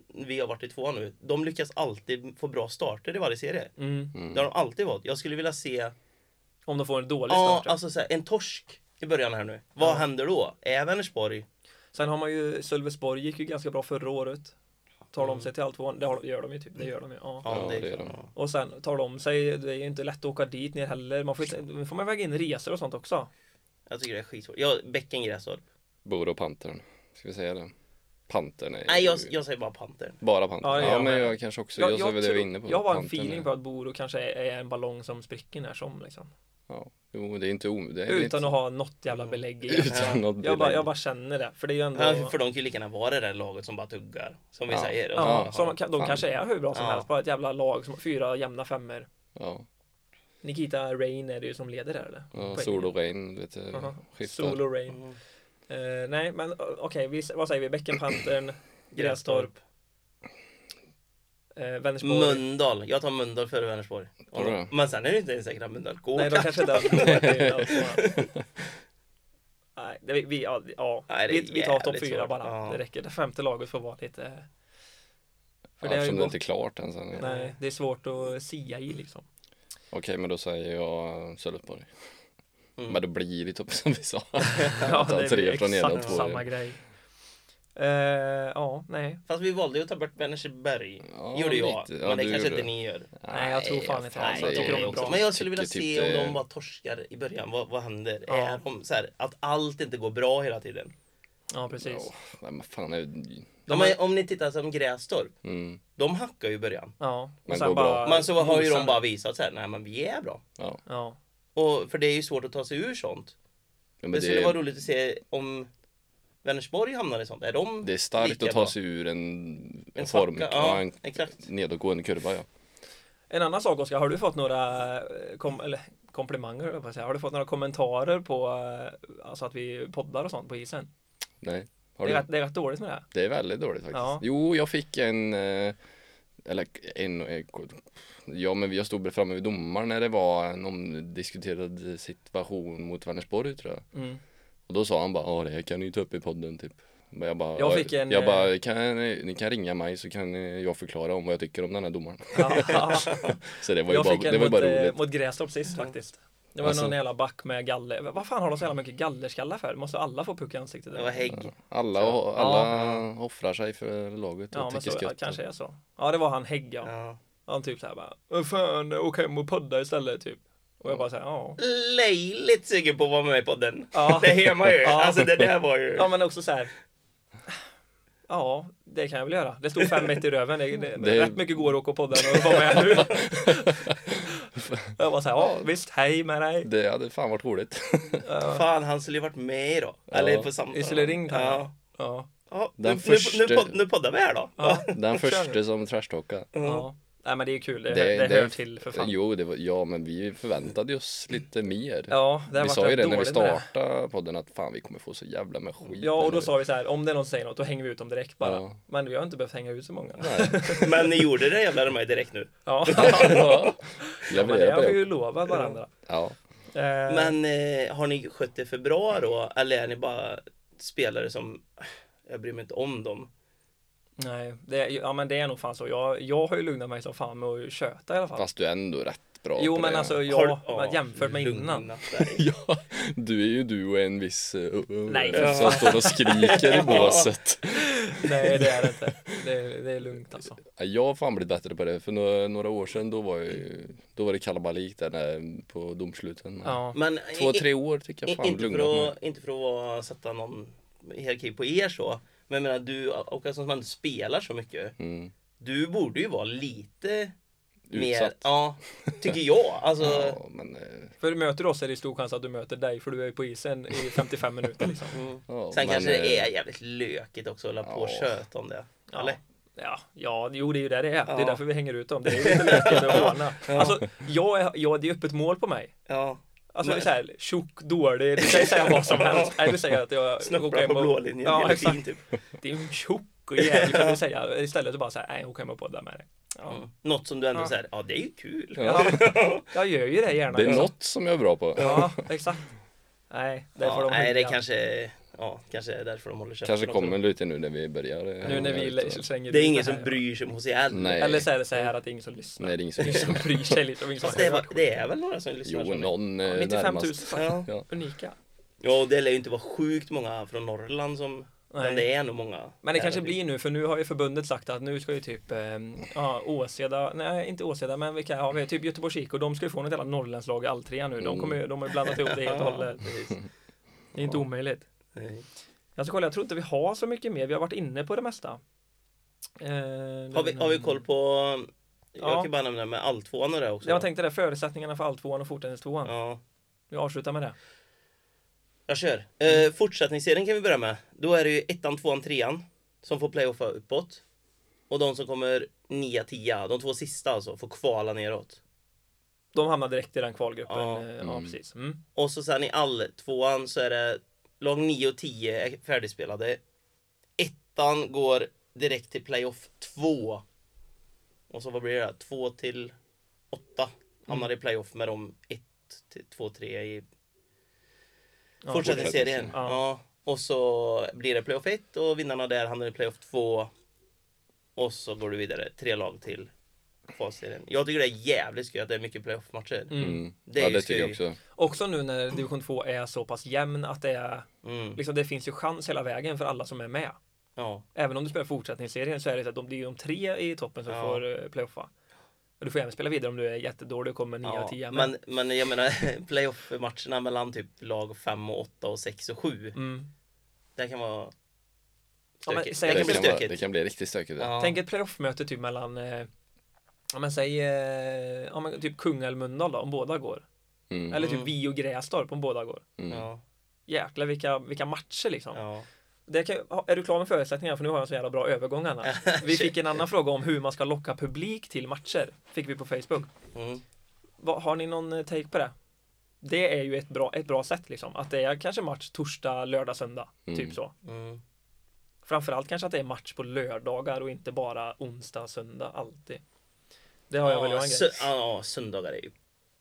vi har varit i två nu, de lyckas alltid få bra starter i varje serie.
Mm.
Det har de alltid varit. Jag skulle vilja se
Om de får en dålig
ja,
start. ja.
alltså, så här, en torsk i början här nu. Vad händer då? Är Vänersborg?
Sen har man ju Sölvesborg gick ju ganska bra förra året. Tar de sig till alltvåan? Det har- det gör de ju typ. Det gör de ju. Ja.
Ja, det är
klart.
de.
Och sen tar de sig, det är ju inte lätt att åka dit ner heller. Man får, ju- nu får man väga in resor och sånt också.
Jag tycker det är skitsvårt. Jag, bäcken Grästorp.
Boro och Pantern. Ska vi säga det? Pantern är
Nej,
ju-
jag, jag säger bara Pantern.
bara Pantern.
Ja, det
Ja,
gör jag
men
med.
jag kanske också, jag, jag, det vi var inne på.
jag har en
Pantern
feeling
är-
på att Boro kanske är, är en ballong som spricker när som. Liksom.
Ja. Jo, det är inte om... det är väl
Utan
inte...
att ha något jävla belägg i.
Utan något
Jag bara,
belägg.
jag bara känner det. För det är ju ändå...
Ja, för de kan ju lika gärna vara det där laget som bara tuggar. Som vi
Ja.
säger.
Ja,
Ja,
som, de
fan.
kanske är hur bra som
Ja.
helst. Bara ett jävla lag som fyra jämna femmer.
Ja,
Nikita Rain är det ju som leder där eller?
ja
Poäng.
sol och regn vet du,
Aha.
skiftar.
Sol och Rain. Eh, nej, men eh, okej, vi- vad säger vi? Bäckenpantern, Grästorp, uh, Vänersborg.
Mölndal. Jag tar Mölndal före Vänersborg.
Tror du det?
Men sen är det inte ens säkert att Mölndal går.
Nej, de kanske inte har gått till allsvenskan. Nej, det, vi, ja, ja.
Nej, det är
vi, vi tar topp
jävligt
fyra
svårt.
bara.
Ja.
Det räcker. Det femte laget får vara lite... För
Ja,
det har ju
eftersom det
gått,
inte är klart än sen. Okej,
nej, det är svårt att sia i liksom.
men då säger jag Sölvesborg.
Mm.
Men då blir det topp som vi sa.
Ja,
Ta
det
tre
är
från ena och
exakt
två i-
samma grej. Eh, ja, nej.
Fast vi valde ju att ta bort Vänersberg.
Ja,
gjorde jag.
lite. Ja,
men det
du
kanske
gjorde
inte ni gör.
Nej, jag tror fan inte det.
Nej,
Alltså, jag tycker
jag
de är bra.
också.
Men jag skulle vilja
Tycker
se
typ det-
om de bara torskar i början. Vad, vad händer?
Ja.
Är de så här, att allt inte går bra hela tiden?
Ja, precis.
Ja, nej, men fan är det...
Ja, men om ni tittar som Grästorp.
Mm,
De hackar ju i början.
Ja,
Men
och sen
går
bara...
bra.
Men så har ju
mosar.
de bara visat så här, nej men vi är bra.
ja.
Ja.
Och, för det är ju svårt att ta sig ur sånt.
ja men
det
det,
skulle
är-
vara roligt att se om Vänersborg hamnar i sånt. Är de
det är starkt
lika
att
bra?
ta sig ur en,
En
form.
svacka,
Ja,
ja,
en
exakt.
nedåtgående kurva ja.
En annan sak Oskar, har du fått några eh, kom, eller, komplimanger, höll jag på att säga. Har du fått några kommentarer på eh, alltså att vi poddar och sånt på isen?
Nej. Har
Det är,
du?
rätt, det är rätt dåligt med det.
Det är väldigt dåligt faktiskt.
Ja.
Jo, jag fick en, eh, eller en, en, ja men jag stod framme vid domaren när det var en omdiskuterad situation mot Vänersborg tror jag.
Mm.
Och då sa han bara, ja det här kan ni ju ta upp i podden typ. Men jag bara,
Jag fick en,
jag
eh,
bara kan, ni ni kan ringa mig så kan eh, jag förklara om vad jag tycker om den här domaren.
Ja.
Så det var ju
Jag
bara,
fick
det
en
var ju
mot,
bara
eh,
roligt.
mot Grästorp sist faktiskt. Det var
Alltså.
någon jävla back med galler. Vad fan har de så jävla mycket gallerskallar för? Måste alla få puck i ansiktet?
Det
eller?
var hägg.
Alla, alla offrar sig för laget och
Ja men
tycker
så ja,
skott.
kanske är så. Ja det var han Hägg ja.
Ja.
Han typ såhär bara "Vad Fan åk hem och podda istället typ. Och jag bara såhär ja.
Löjligt sugen på att vara med i podden.
Ja.
Det är man ju.
Ja.
Alltså det där var ju.
Ja men också såhär. Ja det kan jag väl göra. Det stod 5-1 i röven. Det, det,
Det-
Rätt mycket går att åka och podda och vara med nu. jag bara såhär ja visst hej med dig.
Det hade fan varit roligt.
Fan, han skulle ju varit med då. Eller
Ja.
på samtal.
Vi skulle ringt
ja.
här. Ja.
Ja,
Den
nu, nu,
första-
nu, podd, nu poddar vi här då.
Ja.
Den
Kör.
första som trashtalkade.
ja. Nej men det är kul. Det,
Mm. Det-
det,
Eh, det-
hör till för fan.
Jo, det var, ja men vi förväntade oss lite mer.
Ja, det
vi
har varit
sa ju
rätt
det när vi
dåligt med det.
startade podden att fan vi kommer få så jävla med skit.
Ja, och
eller-
då sa vi så här, om det är någon som säger något, då hänger vi ut dem direkt bara.
Ja.
Men vi har inte behövt hänga ut så många.
Nej.
Men ni gjorde det jävlar mig direkt nu.
Ja,
ja,
men det
leverera på
har vi
det.
ju lovat varandra.
Ja.
Eh,
Men eh, har ni skött det för bra då? Eller är ni bara spelare som jag bryr mig inte om dem.
Nej, det, ja men det är nog fan så. Jag, jag har ju lugnat mig som fan med att köta i alla fall.
Fast du är ändå rätt bra
jo,
på
men
det.
alltså
Har-
jag,
ja,
jämfört med
lugna
innan.
dig.
Ja, du är ju du och en viss uh, uh,
Nej, för
som
fan.
står och skriker i båset.
Nej, det är det inte. Det, är- det är lugnt alltså.
Ja, Jag har fan blivit bättre på det. För några, några år sedan då var, jag, ju- då var det kalabalik där när, på domsluten.
Ja.
Men
Två,
i-
tre år tycker jag
I-
fan
inte,
lugnat
för
mig.
att, inte för att vara- sätta någon hierarki på er så. Men jag menar du och alltså, som ändå spelar så mycket.
Mm.
Du borde ju vara lite mer.
Utsatt.
Ja, tycker jag. Alltså,
Ja, men, eh,
För möter du oss är det stor chans att du möter dig, för du är ju på isen i 55 minuter liksom.
mm.
ja,
Sen
men,
kanske det
eh,
är jävligt lökigt också att hålla på och
Ja.
köta om det.
Ja.
Eller?
Ja, ja, jo det är ju där det är. Det
Ja.
är därför vi hänger ut dem. Det är ju lite läskigt att ordna.
Ja.
Alltså, jag är, jag, det är öppet mål på mig.
Ja.
Alltså
Men-
så här, tjock, dålig, du kan ju säga vad som helst. Nej, du säger att jag åker
Snubbla
hem
på
och-
blålinjen
Ja,
hela tiden
exakt.
typ.
Din tjock och jävlig kan du säga. Istället så bara så här, nej, åk hem och podda med dig. Ja.
Mm. Något som du ändå
Ja.
säger, ja det är ju kul.
Ja.
Jag gör ju det gärna.
Det är
liksom.
något som jag är bra på.
Ja, exakt. Nej, det får
Ja,
de
nej, det
hänga.
kanske, ja, kanske är därför de håller käften
Kanske
också.
kommer lite nu när vi börjar. eh,
Nu när vi
här
lä-
ute.
slänger
Det är
ut
ingen
här,
som
ja.
bryr sig om HCL.
Nej.
Eller så är det så här att det är ingen som lyssnar.
Nej, det är ingen som
Ingen som bryr sig liksom. Ingen som
Fast det,
hör.
är, det är väl några som lyssnar?
Jo,
som-
någon eh,
95 000
närmast.
sagt.
Ja.
Ja.
Unika.
Ja, och det lär ju inte vara sjukt många från Norrland som...
Nej.
Men det är nog många.
Men det kanske
Där.
blir nu, för nu har ju förbundet sagt att nu ska ju typ eh, ja, Åseda, nej inte Åseda, men vilka har vi? Typ Göteborgs IK, de ska ju få något jävla Norrlandslag i all trea nu.
Mm.
De, kommer, ju- de har ju blandat ihop det helt och hållet. Det är inte omöjligt.
Nej.
Jag ska kolla, jag tror inte vi har så mycket mer. Vi har varit inne på det mesta. Eh,
Har vi, har vi koll på...
Ja.
Jag kan bara nämna med alltvåan och det också.
Jag tänkte det, förutsättningarna för allt tvåan och fortenästvåan.
Ja.
Vi avslutar med det.
Jag kör. Eh, fortsättningsserien kan vi börja med. Då är det ju ettan, tvåan, trean som får playoffa uppåt. Och de som kommer nia, tia, de två sista alltså, får kvala neråt.
De hamnar direkt i den kvalgruppen.
Ja.
Eh, ja precis. Mm.
Och så sen i alltvåan så är det lag 9 och 10 är färdigspelade. Ettan går direkt till playoff 2. Och så vad blir det? 2 till 8 hamnar i playoff med de 1 till 2, 3 i
Ja,
fortsättningsserien.
fortsättningsserien.
Ja.
Ja.
Och så blir det playoff 1 och vinnarna där hamnar i playoff 2. Och så går du vidare tre lag till kvalserien. Jag tycker det är jävligt skoj att det är mycket playoff-matcher.
Mm.
Det är
ja,
ju
det tycker jag
skoj.
också.
Också nu när division 2 är så pass jämn att det är
Mm.
liksom, det finns ju chans hela vägen för alla som är med.
Ja.
Även om du spelar fortsättningsserien så är det så att de, det är ju de tre i toppen som
Ja.
får eh, playoffa. Och du får även spela vidare om du är jättedålig och kommer 9
Ja,
10
men, men jag menar playoff-matcherna mellan typ lag 5 och 8 och 6 och 7.
mm.
Det kan vara
Ja, men
stökigt.
säg att
Det
det kan bli
kan, vara, det
stökigt.
kan bli riktigt stökigt. Ja.
Ja.
Tänk ett playoff-möte typ mellan eh, Ja men säg eh, ja, men typ Kungälv och Mölndal då, om båda går.
Mm.
Eller typ
Mm.
Vi och Grästorp om båda går.
Mm.
Ja,
Jäklar vilka, vilka matcher liksom.
ja.
Det kan, ju- ha- är du klar med förutsättningarna? För nu har jag så jävla bra övergång Anna. Vi fick en annan fråga om hur man ska locka publik till matcher. Fick vi på Facebook.
Mm.
Vad- har ni någon eh, take på det? det är ju ett bra, ett bra sätt liksom. Att det är kanske match torsdag, lördag, söndag.
Mm.
Typ så.
Mm.
Framförallt kanske att det är match på lördagar och inte bara onsdag, söndag alltid. Det har jag väl jag en grej.
sö- ja, söndagar är ju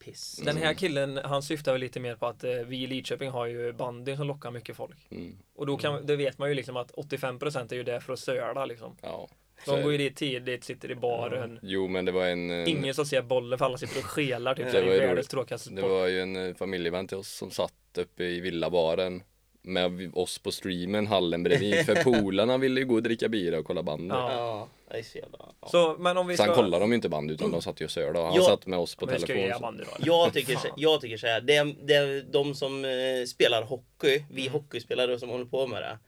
piss.
Mm.
Den här killen, han syftar väl lite mer på att eh, vi i Lidköping har ju bandyn som lockar mycket folk.
Mm.
Och då, kan, då vet man ju liksom att 85% är ju där för att söla liksom.
Ja. Så
De
är
går ju
det.
dit tidigt, sitter i baren.
Jo men det var en, eh, en
Ingen som ser bollen för alla sitter och skelar typ.
Det
Det är
var ju
världens
roligt.
tråkigaste
Det
sport.
var ju en eh, familjevän till oss som satt uppe i villabaren med vi- oss på streamen, hallen bredvid. För polarna ville ju gå och dricka bira och kolla bandy.
Ja.
Ja, det är så jävla... Ja.
Så, men om vi
Så
ska...
han kollade de ju inte bandy utan de satt ju och sörde och han
Ja.
satt med oss på
Men vi ska ju
telefon.
göra
så-
bandy då. eller?
Jag tycker, så,
Fan.
jag tycker så här, det är, det är de som eh, spelar hockey,
Mm.
vi hockeyspelare som håller på med det.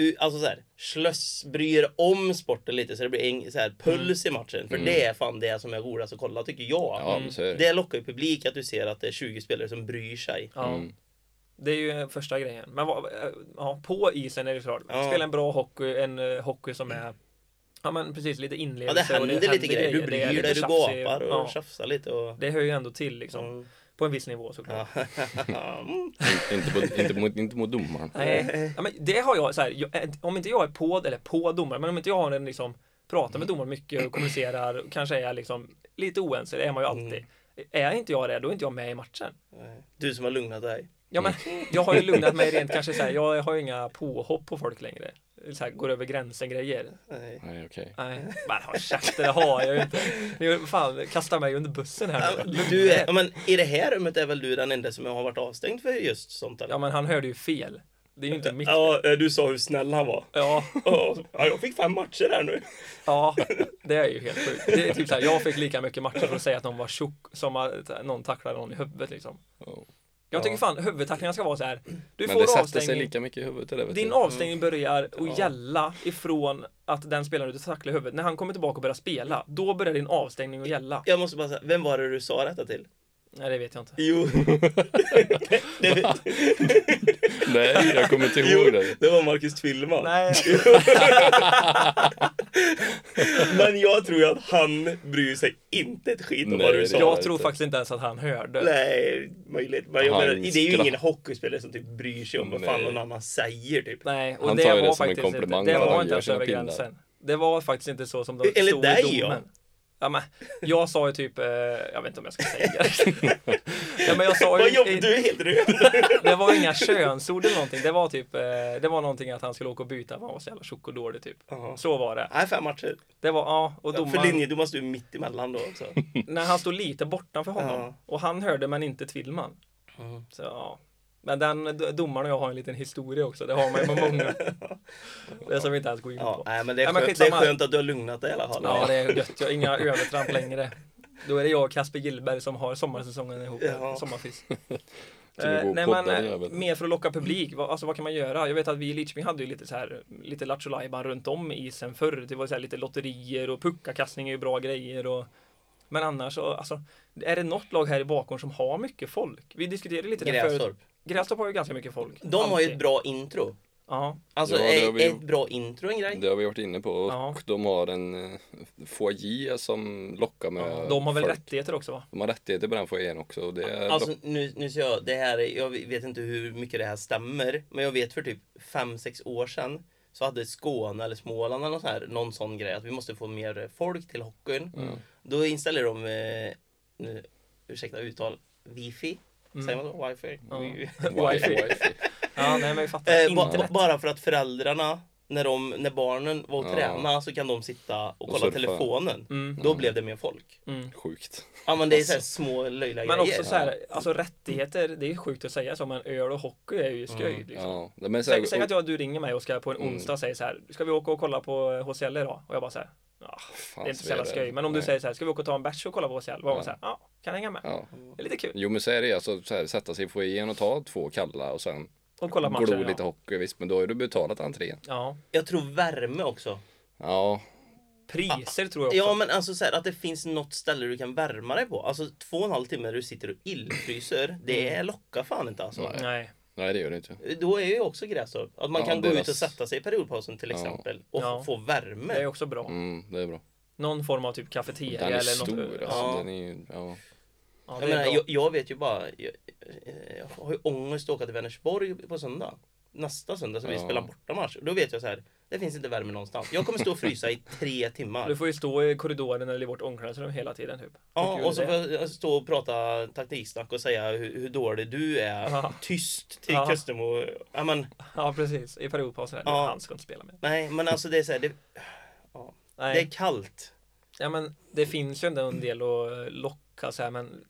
U- Alltså så här, slöss, bryr om sporten lite så det blir en så här, puls i matchen. För det är fan det som är roligast att kolla tycker jag.
Mm.
Mm.
Ja,
Mm.
men så är det.
Det lockar ju publik att du ser att det är 20 spelare som bryr sig.
Ja. Det är ju första grejen. Men vad, eh, ja, på isen är det klart.
Ja.
Spela en bra hockey, en eh, hockey som är Ja men precis lite
Ja,
inlevelse
det händer, lite grejer. Du
Det är
bryr
lite
dig, du
tjafsig-
gapar och
ja,
tjafsar lite. Och,
Det hör ju ändå till liksom
Mm.
På en viss nivå såklart
ja. Mm.
Inte, på, inte, mot, inte mot domaren.
Nej. Ja, men det har jag så här, jag, eh, Om inte jag är på, eller på domaren Men om inte jag har en liksom Pratar
Mm.
med domaren mycket och kommunicerar Kanske är jag liksom lite oense, det är man ju alltid Är
Mm.
inte jag det, då är inte jag med i matchen
Nej. Du som har lugnat dig.
Ja men jag har ju lugnat mig rent kanske så här, jag har ju inga påhopp på folk längre. Så här, går över gränsen grejer.
Nej.
Nej okej.
Nej, men håll käften, det har jag ju inte. Ni fan, kastar mig under bussen här nu.
Du är, ja, men I det här rummet är väl du den enda som har varit avstängd för just sånt? Eller?
Ja men han hörde ju fel. Det är ju inte mitt.
Ja, eh, du sa hur snäll han var.
Ja,
Ja, jag fick fem matcher här nu.
ja, det är ju helt sjukt. Det är typ så här, jag fick lika mycket matcher för att säga att någon var tjock som att någon tacklade någon i huvudet liksom.
Ja.
Jag tycker fan huvudtacklingar ska vara så här. Du
Men det
får
sätter sig
avstängning.
lika mycket i huvudet det där vet
Din
du.
avstängning
Mm.
börjar att gälla ifrån att den spelaren du tacklar i huvudet, när han kommer tillbaka och börjar spela, då börjar din avstängning att gälla.
Jag måste bara säga, vem var det du sa detta till?
Nej, det vet jag inte.
Jo. det, det,
Nej jag kommer inte
jo,
ihåg det.
det var Marcus Tvillman.
Nej.
Men jag tror ju att han bryr sig inte ett skit om
Nej,
vad du
det-
sa.
Jag
det
tror
inte.
faktiskt inte ens att han hörde.
Nej, möjligt. Men jag
Han
menar, det är ju
skratt-
ingen hockeyspelare som typ bryr sig om vad fan
Nej.
någon annan säger typ.
Nej, och
Han
det
tar
var
ju det som en
faktiskt
komplimang
inte, det
när han
var inte
gör
ens
sina
över
pinnar.
gränsen. Det var faktiskt inte så som de
Enligt
stod
dig,
i
ja.
domen. Ja, men, jag sa ju typ, eh, jag vet inte om jag ska säga det. ja, men jag sa
Vad
ju,
jobbigt, du är helt röd.
det var ju inga könsord eller någonting. Det var typ, eh, det var någonting att han skulle åka och byta, för han var så jävla tjock och dålig typ.
Jaha.
Så var det.
Nej, fem matcher.
Det var, ja, och
Ja,
domaren.
för linjedomaren stod ju mitt emellan då också.
när han stod lite bortanför honom
Ja. Mm.
och han hörde men inte Tvillman. Så, ja. Men den d- domaren och jag har en liten historia också, det har man ju med många. Det som vi inte ens går in
Ja,
på.
nej, men det är,
Ja, men
skönt, det är
skitsamma.
skönt att du har lugnat dig i alla fall.
Ja, det är gött, jag har inga övertramp längre. Då är det jag och Kasper Gillberg som har sommarsäsongen ihop,
Ja.
sommarfisk.
Till Typ att
Eh,
gå och
nej
podda
men
den
eh,
jäveln.
mer för att locka publik, vad, alltså vad kan man göra? Jag vet att vi i Lidköping hade ju lite så här, lite lattjo lajban runt om isen förr. Det var så här lite lotterier och puckakastning är ju bra grejer och Men annars så, alltså Är det något lag här i bakgården som har mycket folk? Vi diskuterade lite det förut.
Grästorp.
Grästorp har ju ganska mycket folk.
De har ju
Alltid.
ett bra intro.
Ja,
Alltså,
Ja, det har
är,
vi
är
gjort.
ett bra intro en grej?
Det har vi varit inne på och
Ja.
de har en eh, foyer som lockar med
de har väl
folk.
rättigheter också va?
De har rättigheter på den foajén också och det är
Alltså, nu, nu ser jag, det här, är- jag vet inte hur mycket det här stämmer, men jag vet för typ 5-6 år sedan så hade Skåne eller Småland eller något sånt här, någon sån grej att vi måste få mer folk till hockeyn. Då installerade de, eh, nu, ursäkta uttal, wifi. Säger man så? Wifi?
dock-
wifi.
wifi.
Ja, nej men vi fattar.
Eh, ba, ba,
Internet.
bara för att föräldrarna, när, de, när barnen var och
Ja.
träna så kan de sitta och kolla
surfa.
telefonen.
Mm.
Då blev det mer folk.
Sjukt.
Ja men det är så här små löjliga
Men
grejer.
också så här, alltså rättigheter, det är sjukt att säga så men öl och hockey är ju skoj liksom.
Mm. Ja. Men så här, Mm.
Säg, säg att jag, du ringer mig och ska på en onsdag och säger så här, ska vi åka och kolla på eh, HCL idag? Och jag bara så här, "Ah,
oh, fan,
det är inte så
är
jävla
det.
skoj. Men om du
Nej.
säger så här, ska vi åka och ta en bärs och kolla på HCL? Då var man så här, ja, kan hänga med.
Ja.
Det är lite kul.
Jo men så är det alltså, så här, sätta sig i foajén och ta två kalla och sen
Och kolla matchen.
glo
ja.
lite hockey visst men då har du betalat entrén.
Ja.
Jag tror värme också.
Ja,
Priser tror jag också.
Ja men alltså så här, att det finns något ställe du kan värma dig på. Alltså två och en halv timme där du sitter och illfryser. Det
Mm.
är lockar fan inte alltså.
Nej.
nej det gör det inte.
Då är ju också Grästorp. Att man
Ja,
kan gå
deras-
ut och sätta sig i periodpausen till exempel. Och
Ja.
få värme.
Det är också bra.
Mm, det är bra.
Någon form av typ kafeteria
Den är
eller
stor
något.
alltså.
Ja.
Den är, ju- ja.
Ja,
Jag,
det är
menar,
bra.
jag, jag vet ju bara, jag, jag har ju ångest att åka till Vänersborg på söndag. Nästa söndag som vi
Ja.
spelar bortamatch. Då vet jag så här, det finns inte värme någonstans. Jag kommer stå och frysa i tre timmar.
Du får ju stå i korridoren eller i vårt omklädningsrum hela tiden typ.
Ja, och så får
det.
jag stå och prata taktiksnack och säga hur, hur dålig du är.
Ja.
Tyst till
Ja.
Kustermo. Ja, men,
Ja, precis. I periodpausen.
Ja.
Ja. Han ska inte spela med.
nej, men alltså det är så här, det, det
Nej,
är kallt.
ja, men det finns ju ändå en del att eh, locka så här, men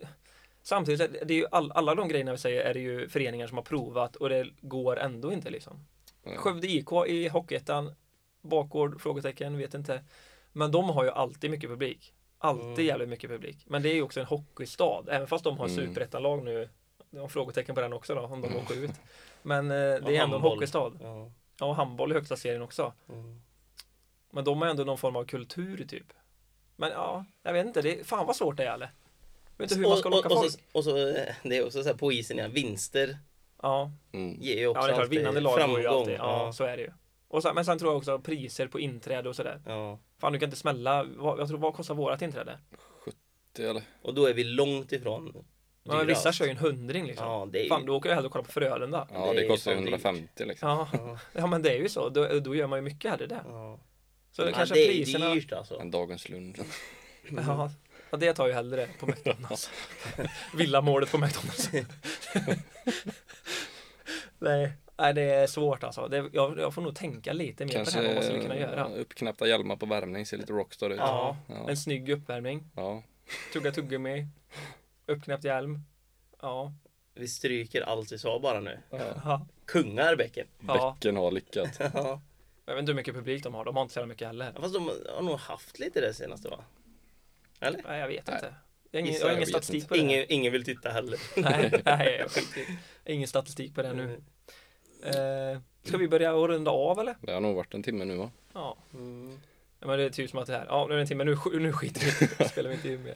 samtidigt, är det är ju all, alla de grejerna vi säger är det ju föreningar som har provat och det går ändå inte liksom.
Nej.
Skövde IK i Hockeyettan, bakgård, frågetecken, vet inte. Men de har ju alltid mycket publik. Alltid
Mm.
jävligt mycket publik. Men det är ju också en hockeystad, även fast de har
Mm.
superettanlag nu. De har frågetecken på den också då, om de
Mm.
åker ut. Men eh, det är
Och
ändå en
handboll.
hockeystad.
Ja.
Ja, och handboll i högsta serien också.
Mm.
Men de har ändå någon form av kultur typ. Men ja, jag vet inte. Det, fan vad svårt det är eller? Jag vet inte hur man ska
Och, och,
locka
och,
folk.
så, och så, eh, det är också så här på isen, ja, vinster
Ja,
Mm.
ger ju
ja
också
det är klart.
alltid
Vinnande lag går
framgång.
ju alltid. Ja,
Ja.
så är det ju. Och så, men sen tror jag också priser på inträde och sådär.
Ja.
Fan du kan inte smälla. Vad, jag tror, vad kostar vårat inträde?
Det, eller?
Och då är vi långt ifrån
Ja, men
dyrast.
vissa kör ju en hundring liksom.
Ja, det är ju...
Fan då åker jag hellre och kollar på Frölunda.
Ja, det,
Det är
kostar
ju för dyrt.
150 liksom.
Ja,
Ja.
ja men det är ju så. Då, då gör man ju mycket hellre det.
Ja.
Så det
Ja,
kanske
det är
priserna.
dyrt alltså.
En dagens lunch. Mm.
Ja, ja, det tar ju hellre på McDonalds. Villamålet på McDonalds. Nej. Nej, det är svårt alltså. Det, jag, jag får nog tänka lite mer på det här, vad man skulle kunna göra.
ja, uppknäppta hjälmar på värmning ser lite rockstar ut.
Ja,
Ja.
en snygg uppvärmning.
ja.
Tugga tuggummi. Uppknäppt hjälm. Ja.
Vi stryker allt vi sa bara nu.
ja.
ja.
Kungar bäcken.
ja.
Bäcken har lyckats.
Ja.
Jag vet inte hur mycket publik de har. De har inte så jävla mycket heller.
Fast de har nog haft lite det senaste va? Eller?
Nej, jag vet
Nej.
inte. Jag har ingen,
Gissa,
jag har
jag
ingen
vet
statistik
inte.
på det.
Ingen, ingen vill titta heller.
Nej, nej, jag skiter i det. Jag har ingen statistik på det
Mm.
Mm.
nu. Eh, ska vi börja att runda av eller?
Det har nog varit en timme nu va?
Ja.
Mm.
Ja, Men det är typ som att det här, ja nu är det en timme, nu, sk- nu skiter vi i det. Nu spelar vi inte in mer.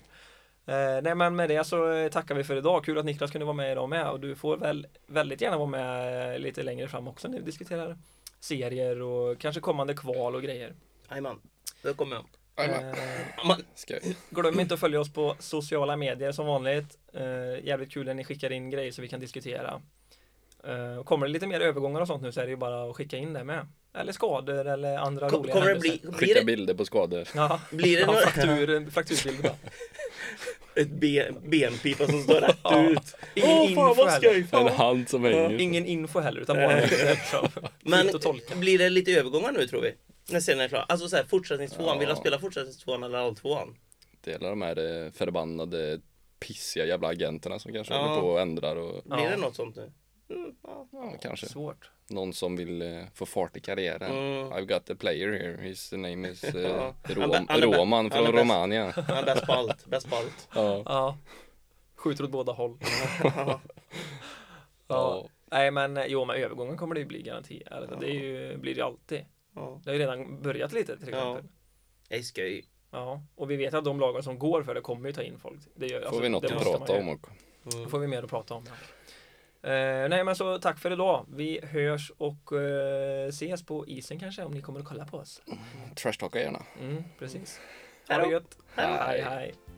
Eh, nej men med det så eh, tackar vi för idag. Kul att Niklas kunde vara med idag med och du får väl väldigt gärna vara med eh, lite längre fram också när vi diskuterar serier och kanske kommande kval och grejer.
Jajamän. Då kommer jag.
Jajamän.
Eh,
Jajamän.
Äh, Ska jag-
glöm inte att följa oss på sociala medier som vanligt. Eh, jävligt kul när ni skickar in grejer så vi kan diskutera. Eh, och kommer det lite mer övergångar och sånt nu så är det ju bara att skicka in det med. Eller skador eller andra
Kom-
roliga
Kommer det
händelser.
bli, blir
Skicka
det
bilder på skador.
Ja,
Blir det
ja,
några-
fraktur, frakturbilder bara.
ett ben, benpipa som står rätt
Ja.
ut?
Ingen
Åh
info
fan vad
heller.
skoj!
En
Fan.
hand som hänger.
Ingen info heller utan bara liksom,
Men
fritt att tolka.
blir det lite övergångar nu tror vi? När serien är klar. Alltså såhär fortsättningstvåan,
Ja.
vill han spela fortsättningstvåan eller alltvåan?
Delar de här eh, förbannade pissiga jävla agenterna som kanske
Ja.
håller på och ändrar och
Blir
Ja.
det något sånt nu? Mm, ja.
ja, kanske
Svårt.
någon som vill eh, få fart i karriären.
Mm.
I've got a player here. His name is eh,
Ja.
Rom-
Han är- han är bä-
Roman
han är
från
bäst.
Romania.
Han är bäst på allt, bäst på allt.
Ja.
Ja. Skjuter åt båda håll. Ja. Nej men jo men övergången kommer det ju bli garanti. Alltså, Det är ju, blir det ju alltid.
Ja.
Det har ju redan börjat lite till
Ja.
exempel. Ja.
Det är skoj.
Och vi vet att de lagen som går för det kommer ju ta in folk. Det gör, alltså,
Får vi något
det
att
måste man
prata
göra.
om och
Då får vi mer att prata om. Ja. Eh, nej men så tack för idag. Vi hörs och eh, ses på isen kanske om ni kommer att kolla på oss.
trashtalka gärna.
Mm, precis. Ha
Hej
det
då.
gött.
Hej.
hej. hej.